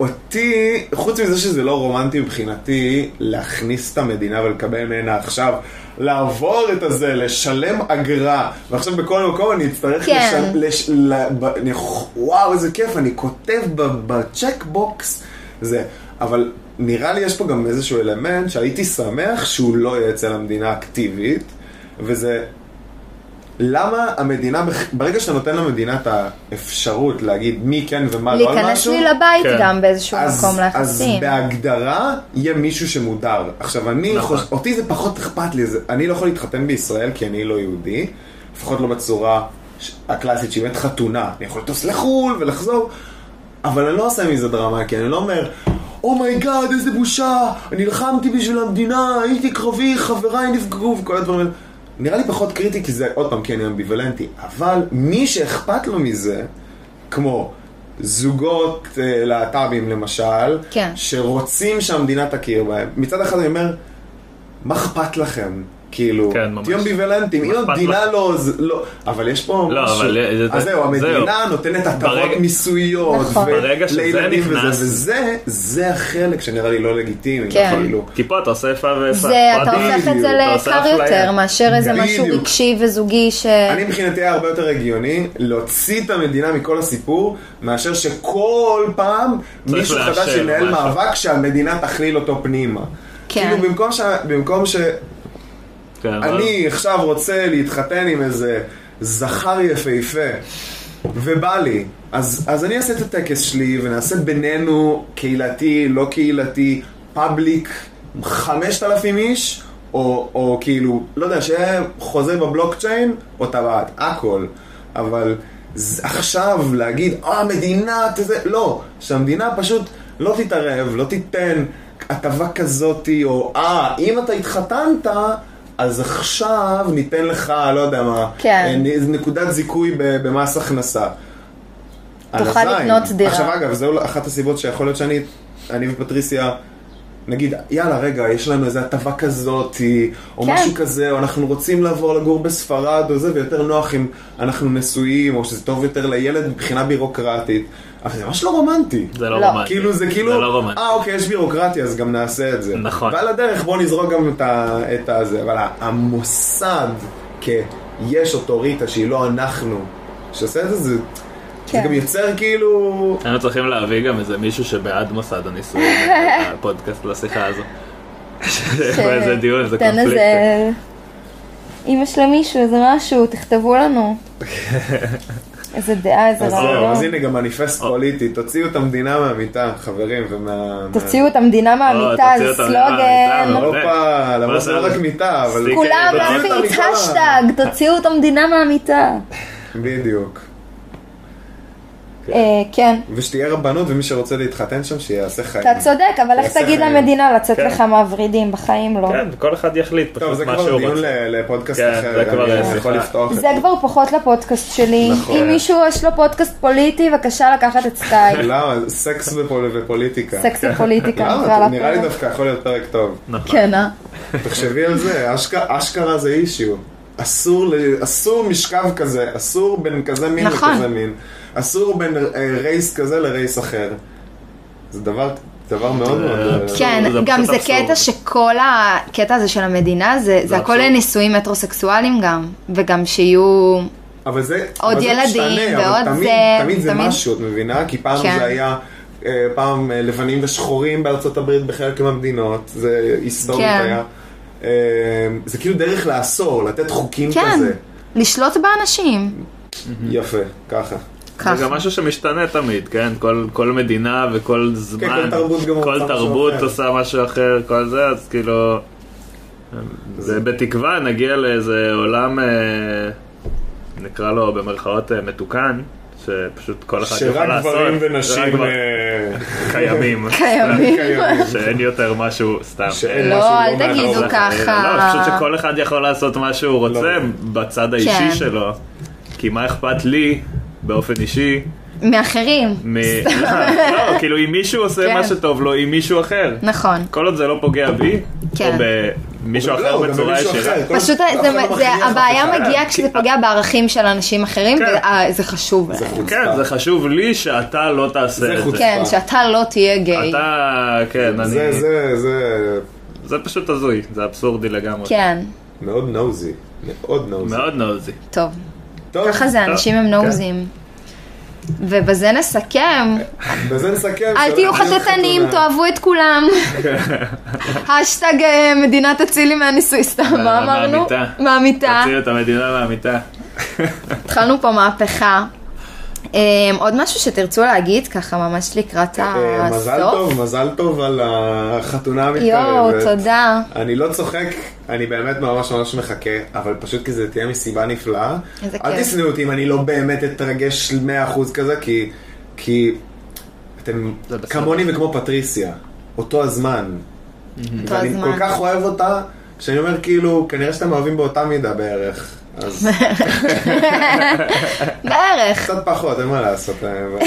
Speaker 2: אותי, חוץ מזה שזה לא רומנטי מבחינתי, להכניס את המדינה ולקבל ממנה עכשיו. לעבור את הזה, לשלם אגרה, ועכשיו בכל מקום אני אצטרך
Speaker 1: כן.
Speaker 2: לשל- לש... ל... ב... אני... וואו, איזה כיף, אני כותב ב- בצ'קבוקס. זה, אבל נראה לי יש פה גם איזשהו אלמנט שהייתי שמח שהוא לא יהיה אצל המדינה אקטיבית, וזה למה המדינה, בח- ברגע שאתה נותן למדינה את האפשרות להגיד מי כן ומה לא על
Speaker 1: להיכנס
Speaker 2: משהו,
Speaker 1: לי לבית
Speaker 3: כן.
Speaker 1: גם באיזשהו
Speaker 2: אז,
Speaker 1: מקום
Speaker 2: אז
Speaker 1: ליחסים.
Speaker 2: בהגדרה יהיה מישהו שמודר. עכשיו, אני
Speaker 3: נכון.
Speaker 2: חוש... אותי זה פחות אכפת לי, זה... אני לא יכול להתחתן בישראל כי אני לא יהודי, לפחות לא בצורה ש- הקלאסית שהיא באמת חתונה. אני יכול לטוס לחו"ל ולחזור, אבל אני לא עושה מזה דרמה, כי אני לא אומר, אומייגאד, איזה בושה, נלחמתי בשביל המדינה, הייתי קרבי, חבריי נפגעו וכל הדברים האלה. נראה לי פחות קריטי, כי זה, עוד פעם, כי אני אמביוולנטי, אבל מי שאכפת לו מזה, כמו זוגות אה, להט"בים למשל,
Speaker 1: כן.
Speaker 2: שרוצים שהמדינה תכיר בהם. מצד אחד אני אומר, מה אכפת לכם? כאילו,
Speaker 3: כן, ממש.
Speaker 2: תהיו אמביוולנטים, אם
Speaker 3: מה אכפת
Speaker 2: המדינה
Speaker 3: לכם?
Speaker 2: לא, עוז- לא, אבל יש פה
Speaker 3: לא,
Speaker 2: משהו,
Speaker 3: אבל, אה,
Speaker 2: אז
Speaker 3: זה-
Speaker 2: זהו, המדינה
Speaker 3: זהו.
Speaker 2: נותנת הטבות
Speaker 3: ברגע-
Speaker 2: מיסויות,
Speaker 1: נכון.
Speaker 2: ו-
Speaker 3: ברגע שזה
Speaker 2: לילדים וזה,
Speaker 3: נכנס-
Speaker 2: וזה, זה החלק שנראה לי לא לגיטימי,
Speaker 1: כן.
Speaker 2: כאילו,
Speaker 3: כי פה אתה עושה איפה ואיפה.
Speaker 1: זה, אתה
Speaker 3: פרטי,
Speaker 1: הופך את זה
Speaker 3: אתה עושה
Speaker 1: ליקר
Speaker 3: אפליה.
Speaker 1: יותר מאשר איזה משהו
Speaker 2: בדיוק.
Speaker 1: רגשי וזוגי ש...
Speaker 2: אני מבחינתי היה הרבה יותר הגיוני להוציא את המדינה מכל הסיפור, מאשר שכל פעם מישהו
Speaker 3: לאשר
Speaker 2: חדש ינהל
Speaker 3: משהו.
Speaker 2: מאבק שהמדינה תכליל אותו פנימה.
Speaker 1: כן.
Speaker 2: כאילו במקום, ש... במקום שאני
Speaker 3: כן, אבל-
Speaker 2: עכשיו רוצה להתחתן עם איזה זכר יפהפה, ובא לי, אז, אז אני אעשה את הטקס שלי ונעשה בינינו קהילתי, לא קהילתי, פאבליק, 5,000 איש, או, או כאילו, לא יודע, שיהיה חוזה בבלוקצ'יין, או טבעת, הכל. אבל ז- עכשיו להגיד, אה, המדינה, תזה, לא, שהמדינה פשוט לא תתערב, לא תיתן הטבה כזאתי, או אה, אם אתה התחתנת... אז עכשיו ניתן לך, לא יודע מה,
Speaker 1: כן.
Speaker 2: אה, איזה נקודת זיכוי ב- במס הכנסה. על
Speaker 1: תוכל
Speaker 2: הזין.
Speaker 1: לקנות דירה.
Speaker 2: עכשיו אגב, זו אחת הסיבות שיכול להיות שאני, אני ופטריסיה, נגיד, יאללה רגע, יש לנו איזו הטבה כזאת, או
Speaker 1: כן.
Speaker 2: משהו כזה, או אנחנו רוצים לעבור לגור בספרד, או זה, ויותר נוח אם אנחנו נשואים, או שזה טוב יותר לילד מבחינה בירוקרטית. אבל זה ממש לא רומנטי.
Speaker 3: זה לא
Speaker 1: לא.
Speaker 3: רומנטי.
Speaker 2: כאילו זה כאילו,
Speaker 3: זה לא רומנטי.
Speaker 2: אה אוקיי יש בירוקרטיה אז גם נעשה את זה.
Speaker 3: נכון.
Speaker 2: ועל הדרך בוא נזרוק גם את, ה, את הזה, אבל המוסד כיש אוטוריטה שהיא לא אנחנו, שעושה את זה, זה,
Speaker 1: כן.
Speaker 2: זה גם יוצר כאילו,
Speaker 3: היינו צריכים להביא גם איזה מישהו שבעד מוסד הנישואים,
Speaker 1: [LAUGHS]
Speaker 3: הפודקאסט לשיחה הזו. [LAUGHS] איזה דיון, איזה
Speaker 1: כן. תן
Speaker 3: קונפליקט.
Speaker 1: איזה... אם יש למישהו איזה משהו, תכתבו
Speaker 2: [LAUGHS]
Speaker 1: לנו. איזה דעה, איזה
Speaker 2: אז זהו, אז
Speaker 1: רעיון.
Speaker 2: הנה גם מניפסט פוליטי, תוציאו את המדינה מהמיטה חברים ומה...
Speaker 1: תוציאו את המדינה מהמיטה,
Speaker 3: תוציאו
Speaker 1: זה
Speaker 3: את המדינה
Speaker 1: סלוגן.
Speaker 3: מהמיטה,
Speaker 2: אירופה, למרות שזה לא
Speaker 3: בסדר.
Speaker 2: רק מיטה, אבל
Speaker 3: סטיקר.
Speaker 1: כולם
Speaker 3: תוציאו את
Speaker 1: להפיץ
Speaker 2: המיטה.
Speaker 1: השטג, תוציאו את המדינה מהמיטה.
Speaker 2: בדיוק.
Speaker 1: אה, כן,
Speaker 2: ושתהיה רבנות ומי שרוצה להתחתן שם שיעשה חיים.
Speaker 1: אתה צודק, אבל איך
Speaker 2: יעשה
Speaker 1: תגיד
Speaker 2: חיים.
Speaker 1: למדינה לצאת
Speaker 3: כן.
Speaker 1: לך מהוורידים, בחיים לא.
Speaker 3: כן, כל אחד יחליט
Speaker 2: טוב,
Speaker 3: פשוט
Speaker 2: זה
Speaker 3: מה שהוא
Speaker 2: כבר דיון
Speaker 3: רוצה.
Speaker 2: ל- לפודקאסט
Speaker 3: כן,
Speaker 2: אחר,
Speaker 3: זה כבר
Speaker 2: אני
Speaker 3: שיחה.
Speaker 2: יכול לפתוח את
Speaker 1: זה כבר פחות לפודקאסט שלי.
Speaker 2: אוקיי. נכון.
Speaker 1: אם מישהו יש לו פודקאסט פוליטי, בבקשה לקחת את
Speaker 2: [LAUGHS]
Speaker 1: סקאי.
Speaker 2: למה? סקס ופול- ופוליטיקה.
Speaker 1: סקס ופוליטיקה, נקרא
Speaker 2: למה?
Speaker 1: לה.
Speaker 2: לא, נראה לי דווקא יכול להיות פרק טוב.
Speaker 3: נכון.
Speaker 1: כן, אה?
Speaker 2: תחשבי על זה, אשכ- אשכרה זה אישיו. אסור, ל- אסור משכב כזה, אסור בין כזה מין
Speaker 1: נכון.
Speaker 2: לכזה מין. אסור בין אה, רייס כזה לרייס אחר. זה דבר, דבר מאוד מאוד...
Speaker 3: זה-
Speaker 2: אה,
Speaker 1: כן,
Speaker 3: זה
Speaker 1: גם
Speaker 3: פשוט
Speaker 1: זה
Speaker 3: אבסורד.
Speaker 1: קטע שכל הקטע הזה של המדינה, זה- זה הכל
Speaker 3: אבסורד.
Speaker 1: נישואים מטרוסקסואלים גם, וגם שיהיו...
Speaker 2: אבל זה,
Speaker 1: עוד
Speaker 2: אבל זה
Speaker 1: ילדים,
Speaker 2: משתנה, אבל
Speaker 1: ועוד
Speaker 2: תמיד,
Speaker 1: זה,
Speaker 2: תמיד זה
Speaker 1: תמיד-
Speaker 2: משהו, את מבינה? כי פעם
Speaker 1: כן.
Speaker 2: זה היה, אה, פעם אה, לבנים ושחורים בארצות הברית בחלק מהמדינות, זה היסטורית
Speaker 1: כן.
Speaker 2: היה. אה, זה כאילו דרך לאסור, לתת חוקים
Speaker 1: כן,
Speaker 2: כזה.
Speaker 1: לשלוט באנשים.
Speaker 2: יפה, ככה.
Speaker 1: ככה.
Speaker 3: זה גם משהו שמשתנה תמיד, כן? כל, כל מדינה וכל זמן,
Speaker 2: כן, כל תרבות גם
Speaker 3: כל
Speaker 2: עושה משהו
Speaker 3: תרבות
Speaker 2: אחר.
Speaker 3: עושה משהו אחר, כל זה, אז כאילו... זה בתקווה נגיע לאיזה עולם, אה, נקרא לו במרכאות אה, מתוקן, שפשוט כל אחד יכול
Speaker 2: שרק
Speaker 3: לעשות.
Speaker 2: גברים
Speaker 3: רק
Speaker 2: ונשים
Speaker 3: גבר-
Speaker 2: אה,
Speaker 3: קיימים.
Speaker 1: [LAUGHS] קיימים.
Speaker 2: [LAUGHS] קיימים.
Speaker 3: שאין יותר משהו סתם.
Speaker 2: שאין
Speaker 3: אה,
Speaker 2: משהו
Speaker 1: לא, אל
Speaker 2: מעל
Speaker 1: תגידו
Speaker 2: הרוח.
Speaker 1: ככה.
Speaker 3: לא, פשוט שכל אחד יכול לעשות מה שהוא רוצה
Speaker 2: לא.
Speaker 3: בצד האישי
Speaker 1: כן.
Speaker 3: שלו. כי מה אכפת לי, באופן אישי,
Speaker 1: מאחרים.
Speaker 3: מ... [LAUGHS] לא, כאילו אם מישהו עושה
Speaker 1: כן.
Speaker 3: מה שטוב לו עם מישהו אחר.
Speaker 1: נכון.
Speaker 3: כל עוד זה לא פוגע בי, או
Speaker 1: כן.
Speaker 3: במישהו
Speaker 2: אבל
Speaker 3: אחר
Speaker 2: לא, גם
Speaker 3: בצורה
Speaker 2: במישהו
Speaker 3: ישירה.
Speaker 2: אחר, כל-
Speaker 1: פשוט
Speaker 2: אף אחד
Speaker 1: זה-
Speaker 2: לא
Speaker 1: זה-
Speaker 2: מכריח אף
Speaker 1: הבעיה
Speaker 2: אחד.
Speaker 1: מגיעה כשזה פוגע בערכים של אנשים אחרים,
Speaker 3: כן.
Speaker 1: וזה חשוב להם.
Speaker 2: חוצפה.
Speaker 3: כן, זה חשוב לי שאתה לא
Speaker 2: זה
Speaker 3: תעשה את
Speaker 2: חוצפה.
Speaker 3: זה.
Speaker 1: כן, שאתה לא תהיה גיי.
Speaker 3: אתה, כן, אני...
Speaker 2: זה, זה, זה
Speaker 3: זה פשוט הזוי, זה אבסורדי לגמרי.
Speaker 1: כן,
Speaker 2: מאוד נוזי. מאוד נוזי.
Speaker 3: מאוד נוזי.
Speaker 1: טוב.
Speaker 2: טוב,
Speaker 1: ככה זה, אנשים
Speaker 3: כן.
Speaker 1: הם נוזים. ובזה נסכם.
Speaker 2: בזה נסכם.
Speaker 1: אל תהיו
Speaker 2: שלא תהיה לך
Speaker 1: חטטנים,
Speaker 2: תלונה.
Speaker 1: תאהבו את
Speaker 3: [LAUGHS]
Speaker 1: כולם. השטג אה, מדינה תצילי מהניסוי סתם, מה
Speaker 3: מה-
Speaker 1: אמרנו?
Speaker 3: אה, מהמיטה.
Speaker 1: מהמיטה.
Speaker 3: תוציאו את המדינה מהמיטה.
Speaker 1: התחלנו פה מהפכה. אה, עוד משהו שתרצו להגיד, ככה ממש לקראת
Speaker 2: אה, מזל
Speaker 1: הסוף?
Speaker 2: טוב, מזל טוב על החתונה
Speaker 1: יואו,
Speaker 2: המתקרבת.
Speaker 1: תודה.
Speaker 2: אני לא צוחק, אני באמת ממש ממש מחכה, אבל פשוט כי זה תהיה מסיבה נפלאה.
Speaker 1: איזה
Speaker 2: אל
Speaker 1: כיף.
Speaker 2: תשנאו אותי אם אני לא באמת אתרגש 100% כזה, כי, כי אתם
Speaker 3: זה בסדר.
Speaker 2: כמוני וכמו פטריסיה, אותו הזמן.
Speaker 1: אותו
Speaker 2: ואני
Speaker 1: הזמן.
Speaker 2: כל כך אוהב אותה, שאני אומר כאילו, כנראה שאתם אוהבים באותה מידה בערך.
Speaker 1: [LAUGHS]
Speaker 2: אז
Speaker 1: בערך.
Speaker 2: קצת פחות, אין מה לעשות.
Speaker 1: [LAUGHS]
Speaker 2: אה, אבל-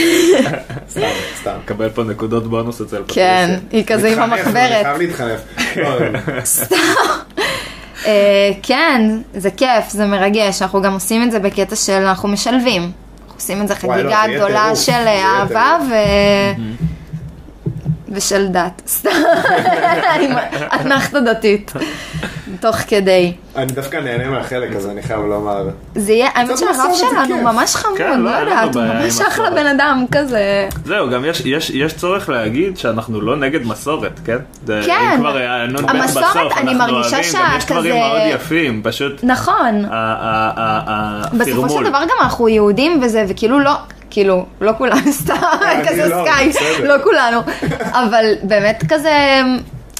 Speaker 2: סתם, סתם.
Speaker 3: מקבל פה נקודות בונוס אצל
Speaker 1: כן,
Speaker 3: פטריסיה.
Speaker 1: היא כזה עם
Speaker 2: מתחנף, אני
Speaker 1: המחברת.
Speaker 2: חייב להתחנף. לא,
Speaker 1: אה, כן, זה כיף, זה מרגש, אנחנו גם עושים את זה בקטע של אנחנו משלבים. אנחנו עושים את זה
Speaker 2: וואי, לא, זה
Speaker 1: חגיגה
Speaker 2: יהיה
Speaker 1: גדולה
Speaker 2: טירוף,
Speaker 1: של
Speaker 2: זה יהיה
Speaker 1: אהבה ו... ושל דת. [LAUGHS] סתם, עם אתנחתא דתית, תוך כדי.
Speaker 2: אני דווקא נהנה מהחלק הזה, אני חייב לומר.
Speaker 1: זה יהיה, האמת
Speaker 2: קצת
Speaker 1: שהרב
Speaker 2: לעשות את זה
Speaker 1: שלנו
Speaker 2: כיף.
Speaker 1: ממש חמוד,
Speaker 3: כן,
Speaker 1: לא
Speaker 3: לא, אין לנו
Speaker 1: יודעת, הוא
Speaker 3: בעיה עם
Speaker 1: ממש אחלה
Speaker 3: מסורת.
Speaker 1: בן אדם כזה.
Speaker 3: זהו, גם יש- יש יש צורך להגיד שאנחנו לא נגד מסורת, כן? זה-
Speaker 1: כן.
Speaker 3: אם כבר היה נ"ב
Speaker 1: המסורת,
Speaker 3: בסוף,
Speaker 1: אני
Speaker 3: אנחנו
Speaker 1: מרגישה
Speaker 3: אוהבים, גם יש דברים
Speaker 1: שכזה-
Speaker 3: מאוד יפים, פשוט
Speaker 1: נכון.
Speaker 3: ה- ה- ה- ה-
Speaker 1: בסופו של
Speaker 3: הפרמול.
Speaker 1: דבר גם אנחנו יהודים וזה, וכאילו לא, כאילו, לא כולם [LAUGHS] סתם,
Speaker 2: אני
Speaker 1: כזה
Speaker 2: לא,
Speaker 1: סקייפ,
Speaker 2: בסדר.
Speaker 1: לא כולנו. אבל באמת כזה,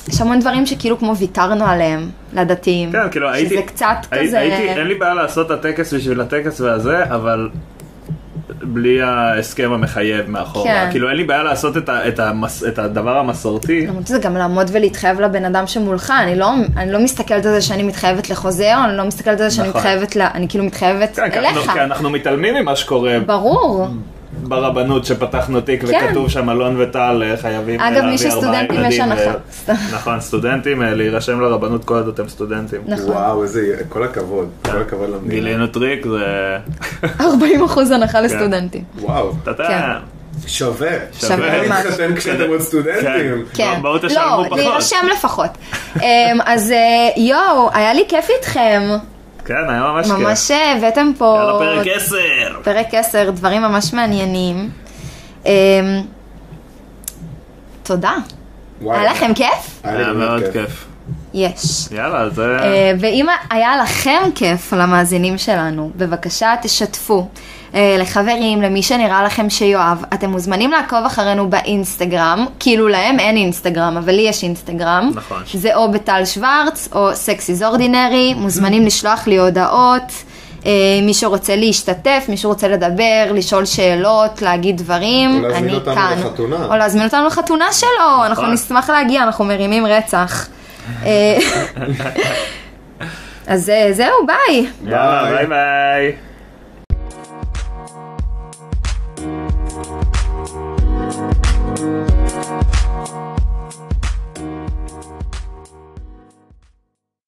Speaker 1: יש המון דברים שכאילו כמו ויתרנו עליהם, לדתיים.
Speaker 3: כן, כאילו הייתי...
Speaker 1: שזה קצת
Speaker 3: הי-
Speaker 1: כזה...
Speaker 3: הייתי, אין לי בעיה לעשות את הטקס בשביל הטקס והזה, אבל בלי ההסכם המחייב מאחורה.
Speaker 1: כן.
Speaker 3: כאילו אין לי בעיה לעשות את, ה, את, המס, את הדבר המסורתי.
Speaker 1: למרות שזה גם לעמוד ולהתחייב לבן אדם שמולך, אני לא, אני לא מסתכלת על זה שאני מתחייבת לחוזה, או אני לא מסתכלת על זה שאני
Speaker 3: נכון.
Speaker 1: מתחייבת, ל, אני כאילו מתחייבת
Speaker 3: כן, כי אנחנו,
Speaker 1: אליך.
Speaker 3: כי אנחנו מתעלמים ממה שקורה
Speaker 1: ברור.
Speaker 3: ברבנות שפתחנו תיק
Speaker 1: כן.
Speaker 3: וכתוב שם אלון וטל אה, חייבים
Speaker 1: אגב,
Speaker 3: להביא
Speaker 1: מי שסטודנטים
Speaker 3: ארבעה
Speaker 1: יש
Speaker 3: ילדים,
Speaker 1: הנחה.
Speaker 3: אה, נכון, סטודנטים, אה, להירשם לרבנות כל עוד אתם סטודנטים.
Speaker 1: נכון.
Speaker 2: וואו, איזה, כל הכבוד, כל הכבוד למדינה.
Speaker 3: גילינו טריק, זה...
Speaker 1: כן. 40 אחוז
Speaker 3: כן.
Speaker 1: הנחה לסטודנטים.
Speaker 3: לא,
Speaker 2: וואו,
Speaker 3: אתה
Speaker 1: כן.
Speaker 3: יודע,
Speaker 2: שווה.
Speaker 1: שווה ממש.
Speaker 2: להתחתן כשאתם עוד סטודנטים.
Speaker 1: כן.
Speaker 3: בואו תשלמו
Speaker 1: לא,
Speaker 3: פחות.
Speaker 1: להירשם לפחות.
Speaker 3: [LAUGHS]
Speaker 1: אמ, אז אה, יואו, היה לי כיף איתכם.
Speaker 3: כן, היה ממש כיף.
Speaker 1: ממש אה, הבאתם פה...
Speaker 3: יאללה, פרק 10!
Speaker 1: פרק 10, דברים ממש מעניינים. אמ, תודה.
Speaker 2: וואו.
Speaker 1: היה לכם כיף?
Speaker 2: לי
Speaker 3: היה
Speaker 2: באמת
Speaker 3: מאוד כיף.
Speaker 1: יש.
Speaker 3: יאללה, זה...
Speaker 1: אה, ואם היה לכם כיף למאזינים שלנו, בבקשה תשתפו. אה, לחברים, למי שנראה לכם שיואב, אתם מוזמנים לעקוב אחרינו באינסטגרם, כאילו להם אין אינסטגרם, אבל לי יש אינסטגרם.
Speaker 3: נכון.
Speaker 1: זה או בטל שוורץ או סקסיז אורדינרי, מוזמנים לשלוח לי הודעות, אה, מי שרוצה להשתתף, מי שרוצה לדבר, לשאול שאלות, להגיד דברים,
Speaker 2: או להזמין
Speaker 1: אני
Speaker 2: אותנו
Speaker 1: כאן.
Speaker 2: לחתונה.
Speaker 1: או להזמין אותנו לחתונה שלו, אנחנו נשמח להגיע, אנחנו מרימים רצח. אה, אז אה, זהו, ביי.
Speaker 3: יאללה,
Speaker 2: ביי.
Speaker 3: ביי ביי.